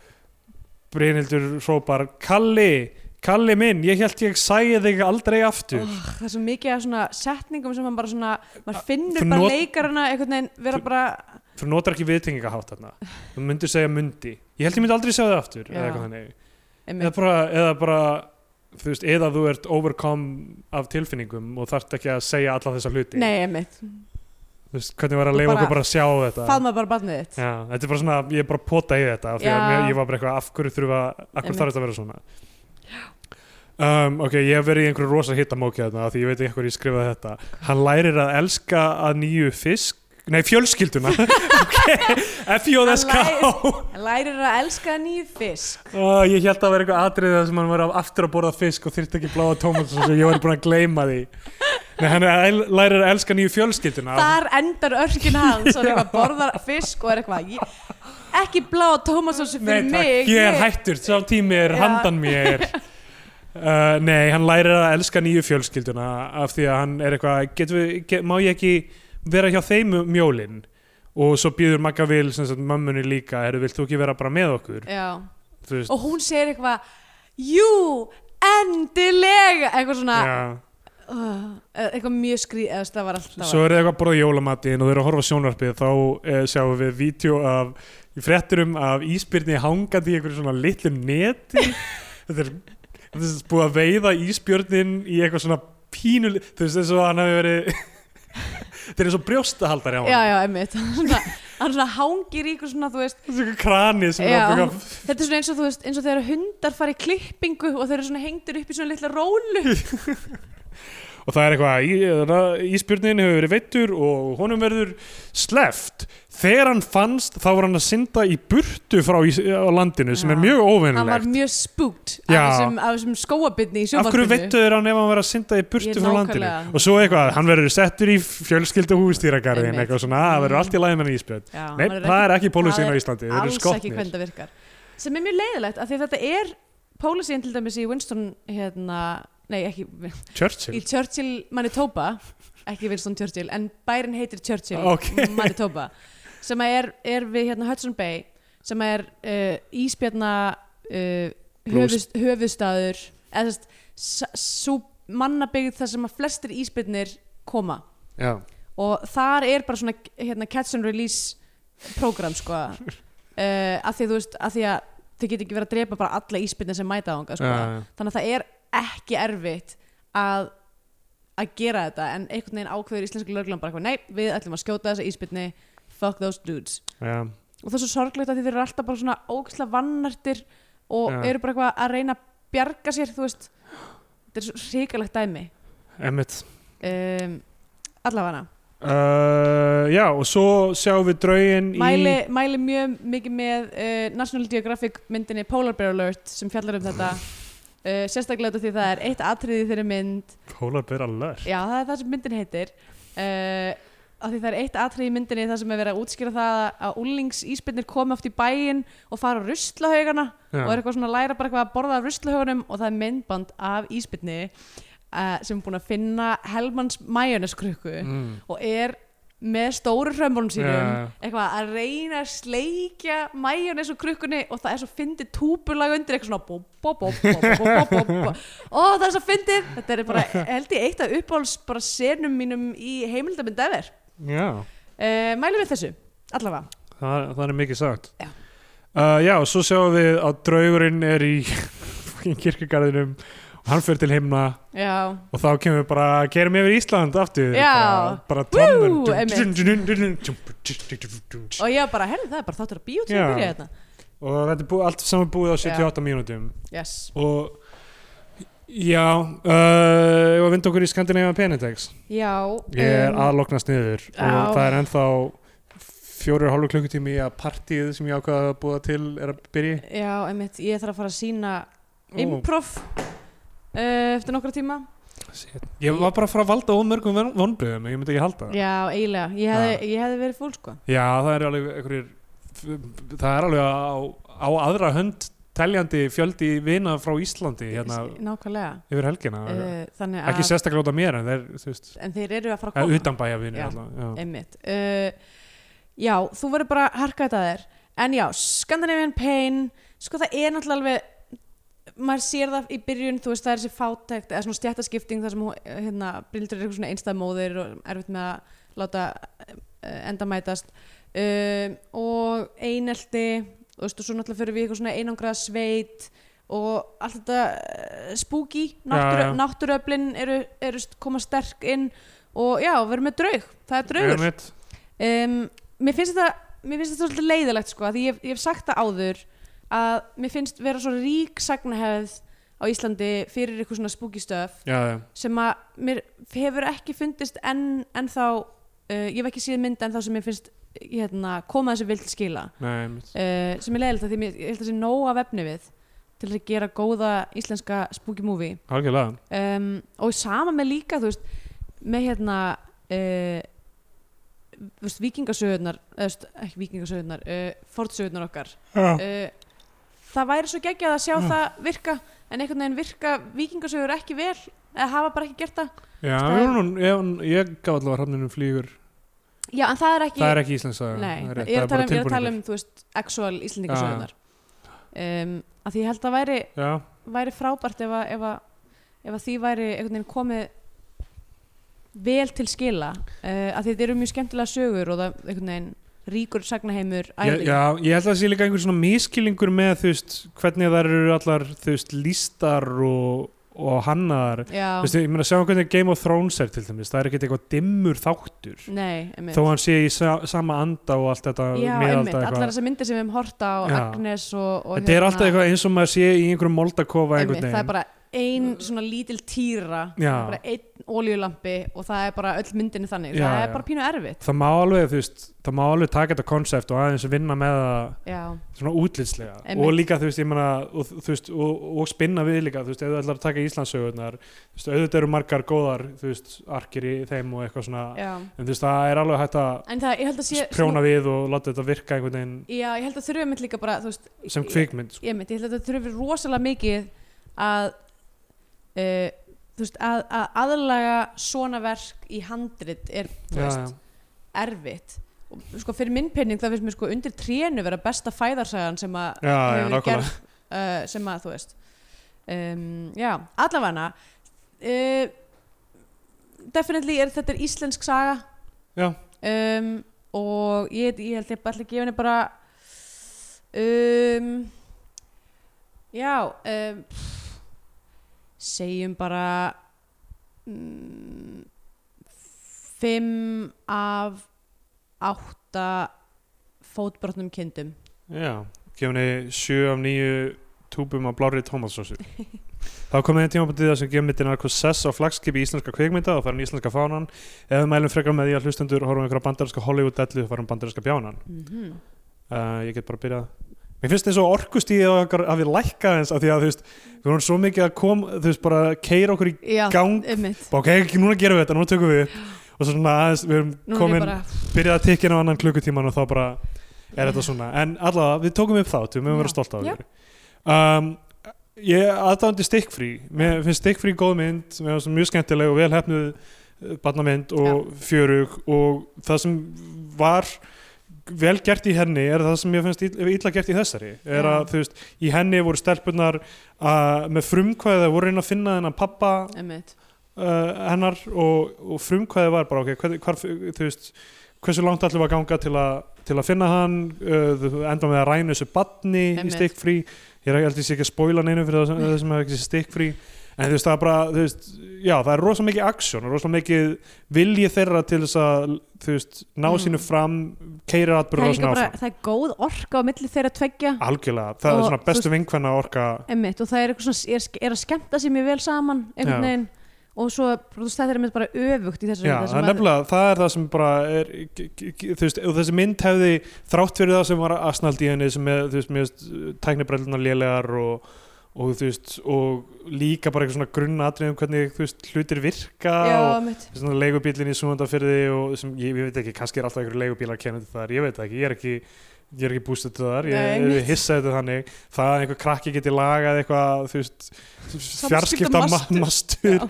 Speaker 2: Brynhildur hrópar Kalli, Kalli minn, ég held ég sæði þig aldrei aftur
Speaker 3: Oh, það er svo mikið af svona setningum sem hann bara svona, maður finnur
Speaker 2: þú
Speaker 3: bara
Speaker 2: not-
Speaker 3: leikarana einhvern veginn vera
Speaker 2: Þú-
Speaker 3: bara,
Speaker 2: þú notar ekki viðtengingahátt þarna þú myndir segja mundi, ég held ég myndi aldrei segja þig aftur eða
Speaker 3: Já.
Speaker 2: eitthvað þannig eða
Speaker 3: einmitt,
Speaker 2: bara, eða bara þú veist, eða þú ert overcome af tilfinningum og þarft ekki að segja alla þessa hluti
Speaker 3: nei einmitt
Speaker 2: þú veist, hvernig var að
Speaker 3: Þú
Speaker 2: leifa
Speaker 3: bara
Speaker 2: okkur bara að sjá þetta
Speaker 3: faðma bara barnið þitt
Speaker 2: Já, þetta er bara svona, ég er bara að pota í þetta af því að
Speaker 3: Já.
Speaker 2: mér, ég var bara eitthvað, af hverju þurfa af hverju
Speaker 3: Einmitt.
Speaker 2: þarf þetta að vera svona um, Ok, ég hef verið í einhverju rosa hittamóki þarna af því ég veit ekki hverju ég skrifaði þetta Hann lærir að elska að nýju fisk Nei, fjölskylduna Ok, F-J-S-K
Speaker 3: lærir að elska nýju fisk
Speaker 2: Ó, Ég held að vera eitthvað atriðið þar sem hann var aftur að borða fisk og þyrfti ekki bláða tómat og ég var búin að gleyma því Nei, hann er að el- lærir að elska nýju fjölskylduna
Speaker 3: þar endar örkin hans og er eitthvað borðar fisk og er eitthvað ég, ekki blá tómasósu fyrir
Speaker 2: Nei, takk,
Speaker 3: mig
Speaker 2: ég er hættur, sá tími er
Speaker 3: Já.
Speaker 2: handan mér uh, Nei, hann lærir að elska nýju fjölskylduna af því að hann er eitthvað getum við, get, má ég ekki vera hjá þeim um mjólin og svo býður Magga vil sem sagt mömmunni líka er, vilt þú ekki vera bara með okkur
Speaker 3: Já.
Speaker 2: Þú veist,
Speaker 3: og hún segir eitthvað jú, endilega eitthvað svona
Speaker 2: já.
Speaker 3: uh, eitthvað mjög skrýð eða þú veist, það var alltaf
Speaker 2: Svo eru þau eitthvað að borða jólamatinn og þau eru að horfa á sjónvarpið þá eh, sjáum við vídeo af í frétturum af ísbyrni hangandi í einhverju svona litlum neti þetta er, þetta er búið að veiða ísbjörnin í eitthvað svona pínul þú veist eins og hann hafi verið þeir eru svo brjóstahaldari á
Speaker 3: já,
Speaker 2: hann
Speaker 3: já, einmitt hann svona, hann svona hangir í eitthvað svona, þú veist
Speaker 2: þessi eitthvað krani sem
Speaker 3: Já.
Speaker 2: er okkur
Speaker 3: Þetta er svona eins og þú veist, eins og þegar hundar fara í klippingu og þeir eru svona hengdur upp í svona litla rólu
Speaker 2: og það er eitthvað í- ra- ísbjörnin hefur verið veittur og honum verður sleft þegar hann fannst þá var hann að synda í burtu frá ís, á landinu sem er
Speaker 3: Já.
Speaker 2: mjög
Speaker 3: Hann var
Speaker 2: óvinnilegt
Speaker 3: mjög spúkt af
Speaker 2: Já.
Speaker 3: þessum, af þessum skóabitni í
Speaker 2: af
Speaker 3: sjónvarpinu
Speaker 2: hverju veittu þeir hann ef hann verið að synda í
Speaker 3: Ég-
Speaker 2: burtu frá landinu
Speaker 3: nákvæmlega.
Speaker 2: og svo eitthvað, hann verður settur í fjölskyldu hústýragarðin
Speaker 3: Einmitt.
Speaker 2: eitthvað svona, það verður allt í lagi með hann íspjöld
Speaker 3: Já,
Speaker 2: nei,
Speaker 3: maður
Speaker 2: það er ekki pólisin á
Speaker 3: það er
Speaker 2: Íslandi, þeir eru
Speaker 3: alls ekki
Speaker 2: skotnir
Speaker 3: hvernig það virkar sem er mjög leiðilegt af því að þetta er pólisíðin til dæmis í Winston hérna, nei ekki í
Speaker 2: Churchill,
Speaker 3: Churchill Manitoba ekki Winston Churchill, en bærin heitir Churchill
Speaker 2: Ok.
Speaker 3: Manitoba sem að er, er við hérna Hudson Bay sem að er uh, íspjarna uh,
Speaker 2: Blóðs-
Speaker 3: höfust, höfustaður eða þess svo mannabyggð þar sem að flestir íspjarnir koma
Speaker 2: já,
Speaker 3: og þar er bara svona hérna, catch and release program sko uh, að því þú veist að því að þau get ekki verið að drepa bara alla íspinni sem mæta ánga sko.
Speaker 2: Já, já.
Speaker 3: þannig að það er ekki erfitt að að gera þetta en einhvern veginn ákveður íslensku löglan bara eitthvað nei við ætlum að skjóta þessa íspinni fuck those dudes
Speaker 2: já
Speaker 3: og það er svo sorglegt að þeir eru alltaf bara svona ógæslega vannartir og
Speaker 2: Já.
Speaker 3: eru bara eitthvað að reyna að bjarga sér þú veist þetta er svo hrikalegt dæmi
Speaker 2: emmitt
Speaker 3: um, allavega
Speaker 2: uh, já, og svo sjáum við draugin
Speaker 3: mæli, mæli mjög mikið með uh, National Geographic myndinni Polar Bear Alert sem fjallar um þetta uh, sérstaklega út af því það er eitt atriði í þeirri mynd,
Speaker 2: í Polar Bear Alert
Speaker 3: já það er það sem myndin heitir uh, af því það er eitt atriði í myndinni þar sem er verið að útskýra það að úlings ísbyrnir komi oft í bæinn og fara á ruslahaugana
Speaker 2: Já.
Speaker 3: og er eitthvað svona að læra bara eitthvað að borða af ruslahaugunum og það er myndband af ísbyrni uh, sem er búin að finna Helmans majóneskrukku
Speaker 2: mm.
Speaker 3: og er með stóru hrömmunum sínum
Speaker 2: Já.
Speaker 3: eitthvað að reyna að sleikja mæjónes og krukkunni og það er svo fyndið túpulag undir eitthvað svona bó, bó, bó, bó, bó, bó, bó, bó, bó. og það er svo fyndið þetta er bara, held ég, eitt af uppáhalds bara senum mínum í heimildamund efer
Speaker 2: já,
Speaker 3: uh, mælum við þessu, allavega
Speaker 2: það, það er mikið sagt
Speaker 3: Já.
Speaker 2: Uh, já, og svo sjáum við að draugurinn er í kirkjugarðinum og hann fyrir til heimna
Speaker 3: já,
Speaker 2: og þá kemur við bara að keirum yfir Ísland aftur
Speaker 3: Já.
Speaker 2: bara, bara
Speaker 3: Woo, einmitt.
Speaker 2: tónum
Speaker 3: og ég var bara, herri, það er bara þáttur að bíó til
Speaker 2: Já.
Speaker 3: að byrja hérna." þetta
Speaker 2: og þetta er búið, allt saman búið á 78 mínútum
Speaker 3: yes,
Speaker 2: og já uh, og vind okkur í Skandinavíðan Penintex
Speaker 3: já
Speaker 2: ég er
Speaker 3: em,
Speaker 2: aðloknast niður og
Speaker 3: Um, Já.
Speaker 2: það er ennþá fjórir og hálfur klukkutími í að partíið sem ég ákvaða að búa til er að byrja í.
Speaker 3: já, einmitt, ég þarf að fara að sína
Speaker 2: Ó.
Speaker 3: improv uh, eftir nokkra tíma
Speaker 2: Shit. ég var bara að fara að valda ómörgum vonbröðum ég myndi ekki halda það
Speaker 3: Já, eiginlega, ég hefði, ég hefði verið fúl sko
Speaker 2: Já, það er alveg einhverjir það er alveg á, á aðra hönd teljandi fjöldi vina frá Íslandi hérna
Speaker 3: Nákvæmlega
Speaker 2: yfir helgina
Speaker 3: uh, Þannig
Speaker 2: ekki
Speaker 3: að,
Speaker 2: sérstaklega út af mér en þeir, þú veist,
Speaker 3: en þeir eru að fara að
Speaker 2: eða
Speaker 3: koma
Speaker 2: utanbæja vini
Speaker 3: Já.
Speaker 2: alltaf,
Speaker 3: Einmitt uh, Já, þú verður bara að harka þetta að þér En já, Scandinavian Pain Sko það er náttúrulega alveg maður sér það í byrjun, þú veist það er þessi fátækt eða svona stjættaskipting þar sem hún, eh, hérna, brildur er eitthvað svona einstæðmóðir og erfitt með að láta uh, endamætast um, og einelti og veistu, svo náttúrulega fyrir við í eitthvað svona einangraða sveit og allt þetta uh, spooky,
Speaker 2: Já,
Speaker 3: náttúru,
Speaker 2: já.
Speaker 3: náttúruöflin eru, eru st- koma sterk inn og já, við erum með draug, það er
Speaker 2: já
Speaker 3: draugur
Speaker 2: Einmitt.
Speaker 3: um, mér finnst þetta mér finnst þetta svolítið leiðilegt sko af því ég, hef- ég hef sagt það áður að mér finnst vera svo rík sagnahefð á Íslandi fyrir eitthvað svona spooky stuff
Speaker 2: já, já,
Speaker 3: sem að mér hefur ekki fundist enn, enn þá uh, ég hef ekki síðan mynd enn þá sem mér finnst hérna, koma þessu vilt skila
Speaker 2: nei, mitt
Speaker 3: uh, sem er leiðilegt að því mér, ég held að sé nóg af efni við til að gera góða íslenska spooky movie
Speaker 2: algjörlega,
Speaker 3: um, og sama með líka þú veist, með hérna uh, þú veist, vikingasöðunar eða þú veist, ekki vikingasöðunar uh, fornsöðunar okkar
Speaker 2: já,
Speaker 3: uh, það væri svo geggjað að sjá það virka en einhvern veginn virka vikingasöður ekki vel eða hafa bara ekki gert það
Speaker 2: já
Speaker 3: það er-
Speaker 2: hún, ég, ég gaf allavega hrafninum flýgur
Speaker 3: já en það er ekki,
Speaker 2: það er ekki íslensk saga
Speaker 3: nei,
Speaker 2: það
Speaker 3: það
Speaker 2: er rétt,
Speaker 3: ég er
Speaker 2: það
Speaker 3: að tala
Speaker 2: bara
Speaker 3: um, ég er að tala
Speaker 2: tilbúningur.
Speaker 3: um þú veist, actual íslendingasöðunar um, að því ég held að væri
Speaker 2: já,
Speaker 3: væri frábært ef að, ef að, ef að því væri einhvern veginn komið vel til skila uh, að þetta eru mjög skemmtilega sögur og það einhvern veginn ríkur sagnaheimur
Speaker 2: Ég,
Speaker 3: æðing.
Speaker 2: já, ég held að það sé líka einhver svona miskilingur með þú veist, hvernig þær eru allar þú veist, lístar og, og hannaðar þú veist,
Speaker 3: já,
Speaker 2: ég meina að sjá hvernig Game of Thrones er til dæmis, það er ekkert eitthvað dimmur þáttur
Speaker 3: nei, einmitt
Speaker 2: þó hann sé í sa sama anda og allt þetta
Speaker 3: já, einmitt,
Speaker 2: miðalda
Speaker 3: allar þessar myndir sem við höfum horta á
Speaker 2: Já.
Speaker 3: Agnes og, og
Speaker 2: þetta er alltaf eitthvað eins og maður sé í einhverjum moldakofa
Speaker 3: einmitt,
Speaker 2: einhvern
Speaker 3: það er
Speaker 2: veginn
Speaker 3: bara ein svona lítil týra
Speaker 2: Já.
Speaker 3: bara einn oljulampi og það er bara öll myndinni þannig,
Speaker 2: Já,
Speaker 3: það
Speaker 2: já.
Speaker 3: er bara pínu erfitt
Speaker 2: það má alveg, þú veist, það má alveg taka þetta konsept og aðeins vinna með það
Speaker 3: já,
Speaker 2: svona útlitslega
Speaker 3: Einmitt.
Speaker 2: og líka þú veist, ég meina og, þú veist, og, og spinna við líka, þú veist, ef þú ætlar að taka Íslandsögurnar, þú veist, auðvitað eru margar góðar, þú veist, arkir í þeim og eitthvað svona,
Speaker 3: já
Speaker 2: en þú veist, það er alveg hægt að
Speaker 3: en það, ég held að sé
Speaker 2: prjóna við og láta þetta virka einhvern veginn
Speaker 3: já, ég held að þurfum einmitt líka bara, þú veist
Speaker 2: sem kvikmynd, sko.
Speaker 3: ég, mynd, ég held að þetta þurfi rosalega mikið að uh, þú veist að, að aðlaga svona verk í handrit er þú
Speaker 2: Já,
Speaker 3: veist, erfitt og sko fyrir minn penning það finnst mér sko undir trénu vera besta fæðarsagan sem
Speaker 2: Já,
Speaker 3: að
Speaker 2: já,
Speaker 3: hefur verið
Speaker 2: nákvæmlega.
Speaker 3: gerð, uh, sem að þú veist um, já, allavega uh, definitely er þetta er íslensk saga
Speaker 2: Já.
Speaker 3: um, og ég, ég held ég bara ætla að gefa henni bara um, já um, segjum bara mm, fimm af átta fótbrotnum kindum
Speaker 2: já, gefni 7 af 9 túpum af blárið tómatsósu Þá komið einn tímabundið þar sem gefmyndin er hvað sess á flagskipi íslenska kvikmynda og farin íslenska fánan ef við mælum frekar með því að hlustendur horfum einhverja bandarinska Hollywood-dellu farin bandarinska bjánan
Speaker 3: mm
Speaker 2: uh, ég get bara að byrja mér finnst eins og orkustíð að við lækka eins af því að þú veist, við vorum svo mikið að kom þú veist, bara keira okkur í
Speaker 3: já,
Speaker 2: Gang-
Speaker 3: einmitt
Speaker 2: ok, núna gerum við þetta, núna tökum við upp og svo svona aðeins, við erum
Speaker 3: Nú er ég
Speaker 2: komin
Speaker 3: bara,
Speaker 2: byrjað að tikka inn á annan klukkutíman og þá bara er þetta svona, en allavega við tókum upp þátt, við mögum
Speaker 3: Já.
Speaker 2: vera stolt af
Speaker 3: Já.
Speaker 2: okkur um, ég aðdándi stikkfrí, mér finnst stikkfrí góð mynd, mér finnst hún mjög skemmtileg og vel hefnuð barnamynd og fjörug og það sem var vel gert í henni er það sem ég finnst ill- illa gert í þessari er
Speaker 3: Já.
Speaker 2: að þú veist, í henni voru stelpunar uh, með frumkvæði voru reyna að finna þennan pappa
Speaker 3: einmitt
Speaker 2: uh, hennar og, og frumkvæði var bara ok, hver, hvar, þú veist hversu langt allir var að ganga til að, til að finna hann uh, þú enda með að ræna þessu batni í
Speaker 3: Einmitt.
Speaker 2: stikkfrí ég er ekki ekki að spóila neinu fyrir það sem, það sem hefur ekki stikkfrí en þú veist það er bara þú veist, já, það er rosa mikið aksjón og rosa mikið vilji þeirra til þess að þú veist, ná
Speaker 3: Mm.
Speaker 2: sínu fram keira
Speaker 3: það er
Speaker 2: atbyrður á
Speaker 3: líka
Speaker 2: sinna
Speaker 3: bara,
Speaker 2: áfram
Speaker 3: það er góð orka á milli þeirra tveggja
Speaker 2: algjörlega, það
Speaker 3: Og,
Speaker 2: er svona
Speaker 3: þú
Speaker 2: bestu vinkvenna orka
Speaker 3: einmitt og það er, eitthvað svona, er, er að skemmta sér mjög vel saman einhvern
Speaker 2: Já.
Speaker 3: veginn og svo þú veist, þetta er einmitt bara öfugt í þessari
Speaker 2: Já,
Speaker 3: mynd, þar
Speaker 2: það
Speaker 3: sem
Speaker 2: er
Speaker 3: að-
Speaker 2: nefnilega, það er það sem bara er, g- g- g- þú veist, ef þessi mynd hefði þrátt fyrir það sem var asnald í henni sem er, þú veist, mjög tæknibrellunar lélegar og, og þú veist og líka bara eitthvað svona grunnatriðum hvernig, þú veist, hlutir virka
Speaker 3: já,
Speaker 2: og
Speaker 3: einmitt
Speaker 2: svona leigubílinn í Súndafyrði og sem, ég, ég veit ekki, kannski er alltaf einhverju leigubílar kennandi þar, ég veit það ekki, ég er ekki ég er ekki bústuð til þar,
Speaker 3: Nei,
Speaker 2: ég
Speaker 3: einmitt.
Speaker 2: er hissaði þetta þannig það að einhver krakki geti lagað eitthvað þú veist, fjarskipta
Speaker 3: Samskiptamastur.
Speaker 2: mastur
Speaker 3: Já,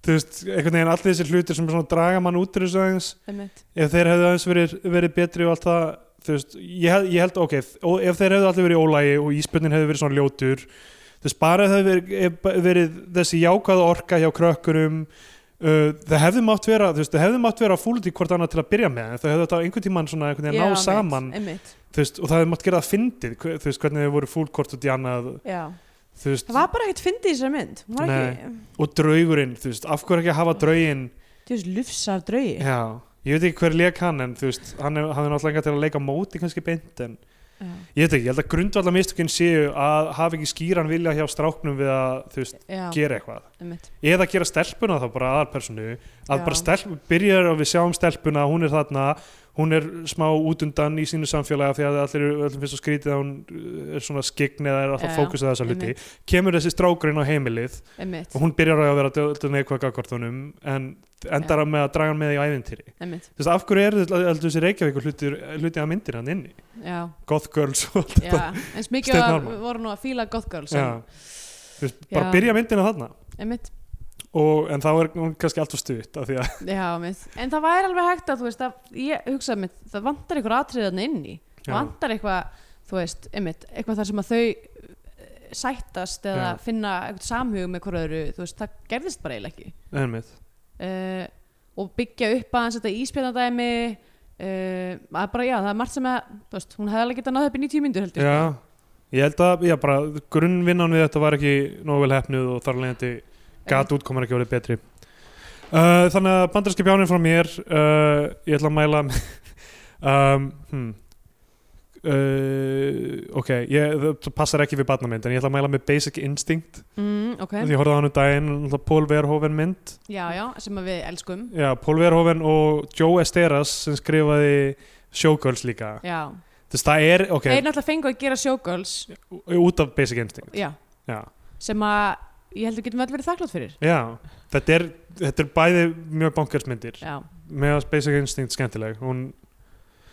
Speaker 2: þú veist, einhvern veginn allir þessir hlutir sem svona draga mann út úr þessu aðeins
Speaker 3: einmitt.
Speaker 2: ef þeir hefðu aðeins verið, verið betri og allt það þú veist, ég, hel- ég held, ok og ef þeir hefðu allir verið í ólægi og íspönnin hefðu verið svona ljótur þú veist, bara ef það hefði verið, ef ba- verið þessi jákvæða orka hjá krökkurum uh, það hefðu mátt vera þú veist, það hefðu mátt vera fúlut í hvort annað til að byrja með en það hefðu þetta á einhvern tímann svona einhvern
Speaker 3: Já,
Speaker 2: veginn ná
Speaker 3: einmitt,
Speaker 2: saman
Speaker 3: einmitt.
Speaker 2: þú veist, og það hefðu mátt gera það fyndið hve- þú veist, hvernig þau voru fúlt hvort út í annað
Speaker 3: Já.
Speaker 2: þú veist,
Speaker 3: það var bara ekkert fyndið í þessari mynd hún var ekki,
Speaker 2: og draugurinn, þú veist, af hverju ekki að hafa drauginn
Speaker 3: þú veist, lufsar draugi
Speaker 2: Já, ég veit ekki hver leik hann en þú veist, hann hafði náttúrulega enga til að leika á móti kannski beint en
Speaker 3: Já,
Speaker 2: ég veit ekki, ég held að grundvallar mistökinn séu að hafa ekki skýran vilja hjá stráknum við að þú veist,
Speaker 3: já
Speaker 2: gera eitthvað
Speaker 3: einmitt.
Speaker 2: eða gera stelpuna þá bara aðalpersonu að
Speaker 3: Já.
Speaker 2: bara stelp, byrjar að við sjáum stelpuna hún er þarna, hún er smá út undan í sínu samfélagi af því að allir öllum finnst að skrítið að hún uh, er svona skikn eða er alltaf
Speaker 3: Já, já,
Speaker 2: fókusið að þessa hluti kemur þessi strákurinn á heimilið
Speaker 3: Einmitt.
Speaker 2: og hún byrjar að vera döldun eitthvað gagvart honum en endar með að draga hann með í ævintýri
Speaker 3: Einmitt.
Speaker 2: þú veist, af hverju eru þetta- heldur þessi Reykjavík hluti, hluti að myndir hann inni
Speaker 3: Já,
Speaker 2: Goth Girls og allt
Speaker 3: já,
Speaker 2: þetta
Speaker 3: eins mikið
Speaker 2: Steinn
Speaker 3: var,
Speaker 2: Ármann.
Speaker 3: voru nú að fíla Goth Girls
Speaker 2: já.
Speaker 3: en-
Speaker 2: Þú veist, bara
Speaker 3: Já.
Speaker 2: byrja myndina þarna
Speaker 3: einmitt,
Speaker 2: og, en þá er hún kannski alltaf stutt af því að
Speaker 3: já, einmitt. en það væri alveg hægt að þú veist að ég hugsaði mitt, það vantar einhver atriðan inn í
Speaker 2: Já.
Speaker 3: vantar eitthvað, þú veist, einmitt eitthvað þar sem að þau eh, sættast eða
Speaker 2: Já.
Speaker 3: finna eitthvað samhug með hverju öðru, þú veist, það gerðist bara eiginlega ekki
Speaker 2: einmitt
Speaker 3: uh, og byggja upp aðeins þetta íspjarnadæmi uh, að bara, já, það er margt sem að þú veist, hún hefði alveg getað náðu upp í 90 myndur heldur
Speaker 2: Já, ég held að já, bara, grunnvinnan við þetta var ekki nógu vel hefnuð og þar leðandi gat útkomar ekki orðið betri uh, Þannig að bandarski bjáninn frá mér uh, ég ætla að mæla með- um, hmm. uh, Ok, ég, það passar ekki við barnamynd en ég ætla að mæla með Basic Instinct
Speaker 3: mm, ok,
Speaker 2: því ég horfði á hann um daginn, náttúrulega Paul Verhoeven mynd
Speaker 3: já, já, sem að við elskum
Speaker 2: Já, Paul Verhoeven og Joe Esteras sem skrifaði Showgirls líka
Speaker 3: já,
Speaker 2: Þess, það er, ok,
Speaker 3: þeir náttúrulega fengu að gera showgirls
Speaker 2: út af Basic Instinct
Speaker 3: já,
Speaker 2: Já
Speaker 3: sem að ég held við getum öll verið þakklátt fyrir
Speaker 2: Já, þetta er, þetta er bæði mjög bankarsmyndir
Speaker 3: já,
Speaker 2: með að Basic Instinct skemmtileg hún,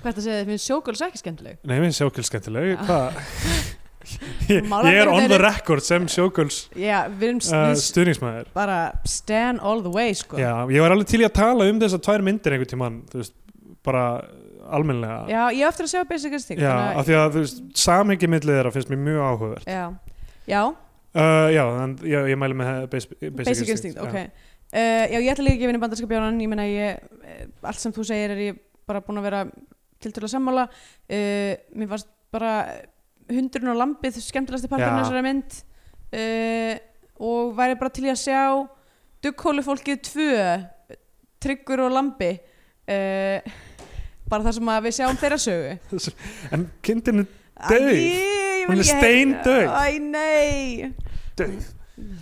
Speaker 3: hvað þetta segið, finnst showgirls ekki skemmtileg
Speaker 2: nei, mér sjókjöld skemmtileg
Speaker 3: Já.
Speaker 2: hvað? ég,
Speaker 3: Málar
Speaker 2: ég er on
Speaker 3: fyrir
Speaker 2: the
Speaker 3: þeirri-
Speaker 2: record sem sjókjölds
Speaker 3: já, við erum
Speaker 2: uh,
Speaker 3: uh,
Speaker 2: stuðningsmæður
Speaker 3: bara stand all the way sko
Speaker 2: Já, ég var alveg til í að tala um þessar tvær myndir einhvern tímann, þú veist, bara almennilega,
Speaker 3: Já, ég á eftir að sjá basic instinct
Speaker 2: já
Speaker 3: þannig að-
Speaker 2: af því að þú veist, samhengi millið þeirra finnst mér mjög áhugaverð
Speaker 3: já, já
Speaker 2: uh, Já, en ég, ég mæli með uh, Basic, basic,
Speaker 3: basic, instinct, ok uh, já, ég ætla líka að gefa henni bandarska bjánan ég meina ég, eh, allt sem þú segir er ég bara búin að vera til til að sammála uh, mér varst bara hundurinn og lambið skemmtilegasti parturinn
Speaker 2: Já.
Speaker 3: þessara mynd uh, og væri bara til í að sjá dugghólu fólkið tvö eh, tryggur og lambi uh, bara þar sem að við sjáum þeirra sögu
Speaker 2: já. En kindin er Dauð.
Speaker 3: Æ, ég
Speaker 2: Hún
Speaker 3: vil
Speaker 2: er
Speaker 3: ekki-
Speaker 2: steindauð.
Speaker 3: Æ, nei
Speaker 2: döð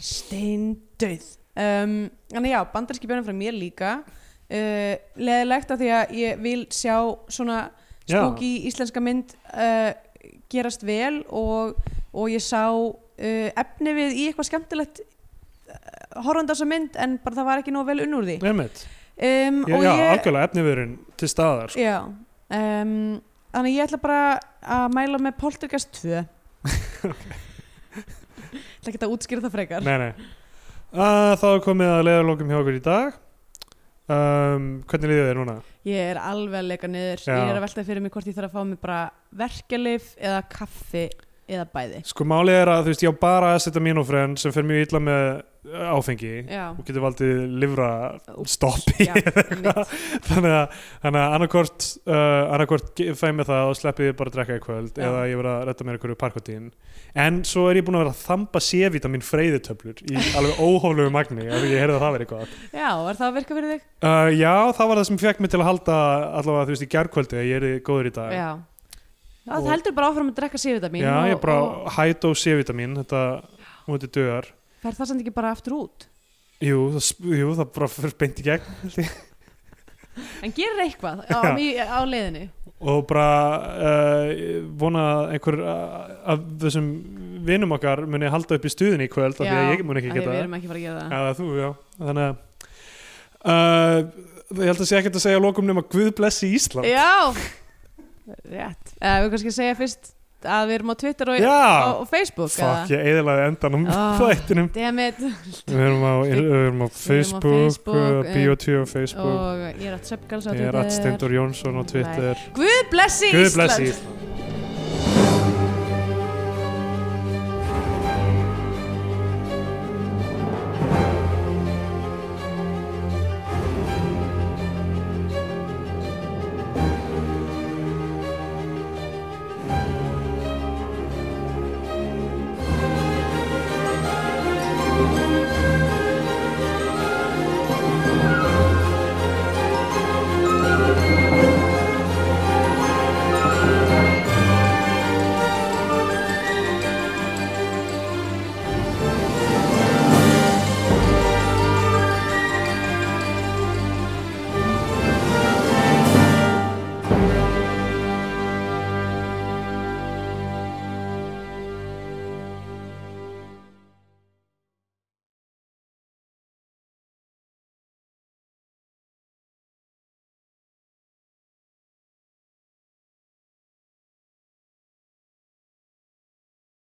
Speaker 3: steindauð um, Þannig já, bandarski björnum frá mér líka uh, leðilegt af því að ég vil sjá svona
Speaker 2: Já.
Speaker 3: spooky íslenska mynd uh, gerast vel og, og ég sá uh, efni við í eitthvað skemmtilegt uh, horfandi á þessa mynd en bara það var ekki nóg vel unn úr því
Speaker 2: Nefnt,
Speaker 3: um,
Speaker 2: já,
Speaker 3: og
Speaker 2: já,
Speaker 3: ég,
Speaker 2: algjörlega efniverun til staðar, sko.
Speaker 3: Já, um, þannig ég ætla bara að mæla með Poltergeist 2 Það geta að útskýra það frekar
Speaker 2: Nei, nei. Uh, þá er komið að leiðarlokum hjá okkur í dag. Um, hvernig líður þér núna?
Speaker 3: Ég er alveg að leika niður,
Speaker 2: Já.
Speaker 3: ég er að velta fyrir mig hvort ég þarf að fá mig bara verkelif eða kaffi eða bæði.
Speaker 2: Sko málið er að þú veist, ég á bara að setja mín og frenn sem fer mjög illa með uh, áfengi
Speaker 3: Já,
Speaker 2: og getur valdið livra
Speaker 3: Úps,
Speaker 2: stoppi.
Speaker 3: já, einmitt.
Speaker 2: þannig að, þannig að annarkort, uh, annarkort fæ mér það og sleppi bara að drekka í kvöld
Speaker 3: Já.
Speaker 2: eða ég verið að retta mér einhverju parkotín. En svo er ég búin að vera að þamba C-vitamin freyðitöflur í alveg óhóflögu magni, af því ég heyrði að það verið gott.
Speaker 3: já, er það að virka fyrir þig?
Speaker 2: Uh, já, það var það sem fekk mig til að halda allavega, þú veist, í gærkvöldi að ég er góður í dag.
Speaker 3: Já. Já,
Speaker 2: Og-
Speaker 3: það heldur bara áfram að drekka sýrita mín
Speaker 2: Já, ég
Speaker 3: og,
Speaker 2: bara
Speaker 3: og
Speaker 2: hætt og C-vitamin, þetta mútið dögar.
Speaker 3: fer það samt ekki bara aftur út.
Speaker 2: Jú, það, sp- jú, það bara fyrir beint í gegn
Speaker 3: En gerir eitthvað á,
Speaker 2: Já.
Speaker 3: í- á leiðinni.
Speaker 2: og bara uh, vona að einhver uh, af þessum vinum okkar muni halda upp í stuðin í kvöld af því að
Speaker 3: Já,
Speaker 2: ég mun ekki
Speaker 3: af því að
Speaker 2: geta
Speaker 3: Við
Speaker 2: það.
Speaker 3: erum ekki bara að gera það.
Speaker 2: Já, þú, já. Þannig að uh, ég held að sé ekkert að segja að lokum nema Guð blessi Ísland.
Speaker 3: Já, rétt. Uh, við kannski segja fyrst að við erum á Twitter og,
Speaker 2: Já.
Speaker 3: og, og Facebook.
Speaker 2: Fuck, ég eiðilaði endanum
Speaker 3: Ah.
Speaker 2: þættinum.
Speaker 3: Dammit.
Speaker 2: Við erum á, við erum á Facebook,
Speaker 3: Facebook,
Speaker 2: uh,
Speaker 3: eh,
Speaker 2: Bio2 á Facebook,
Speaker 3: Og ég er að Söpgals á
Speaker 2: Sko. ég er
Speaker 3: Twitter.
Speaker 2: Atstendur Jónsson á Twitter.
Speaker 3: Guð blessi
Speaker 2: Guð
Speaker 3: Ísland.
Speaker 2: blessi Ísland.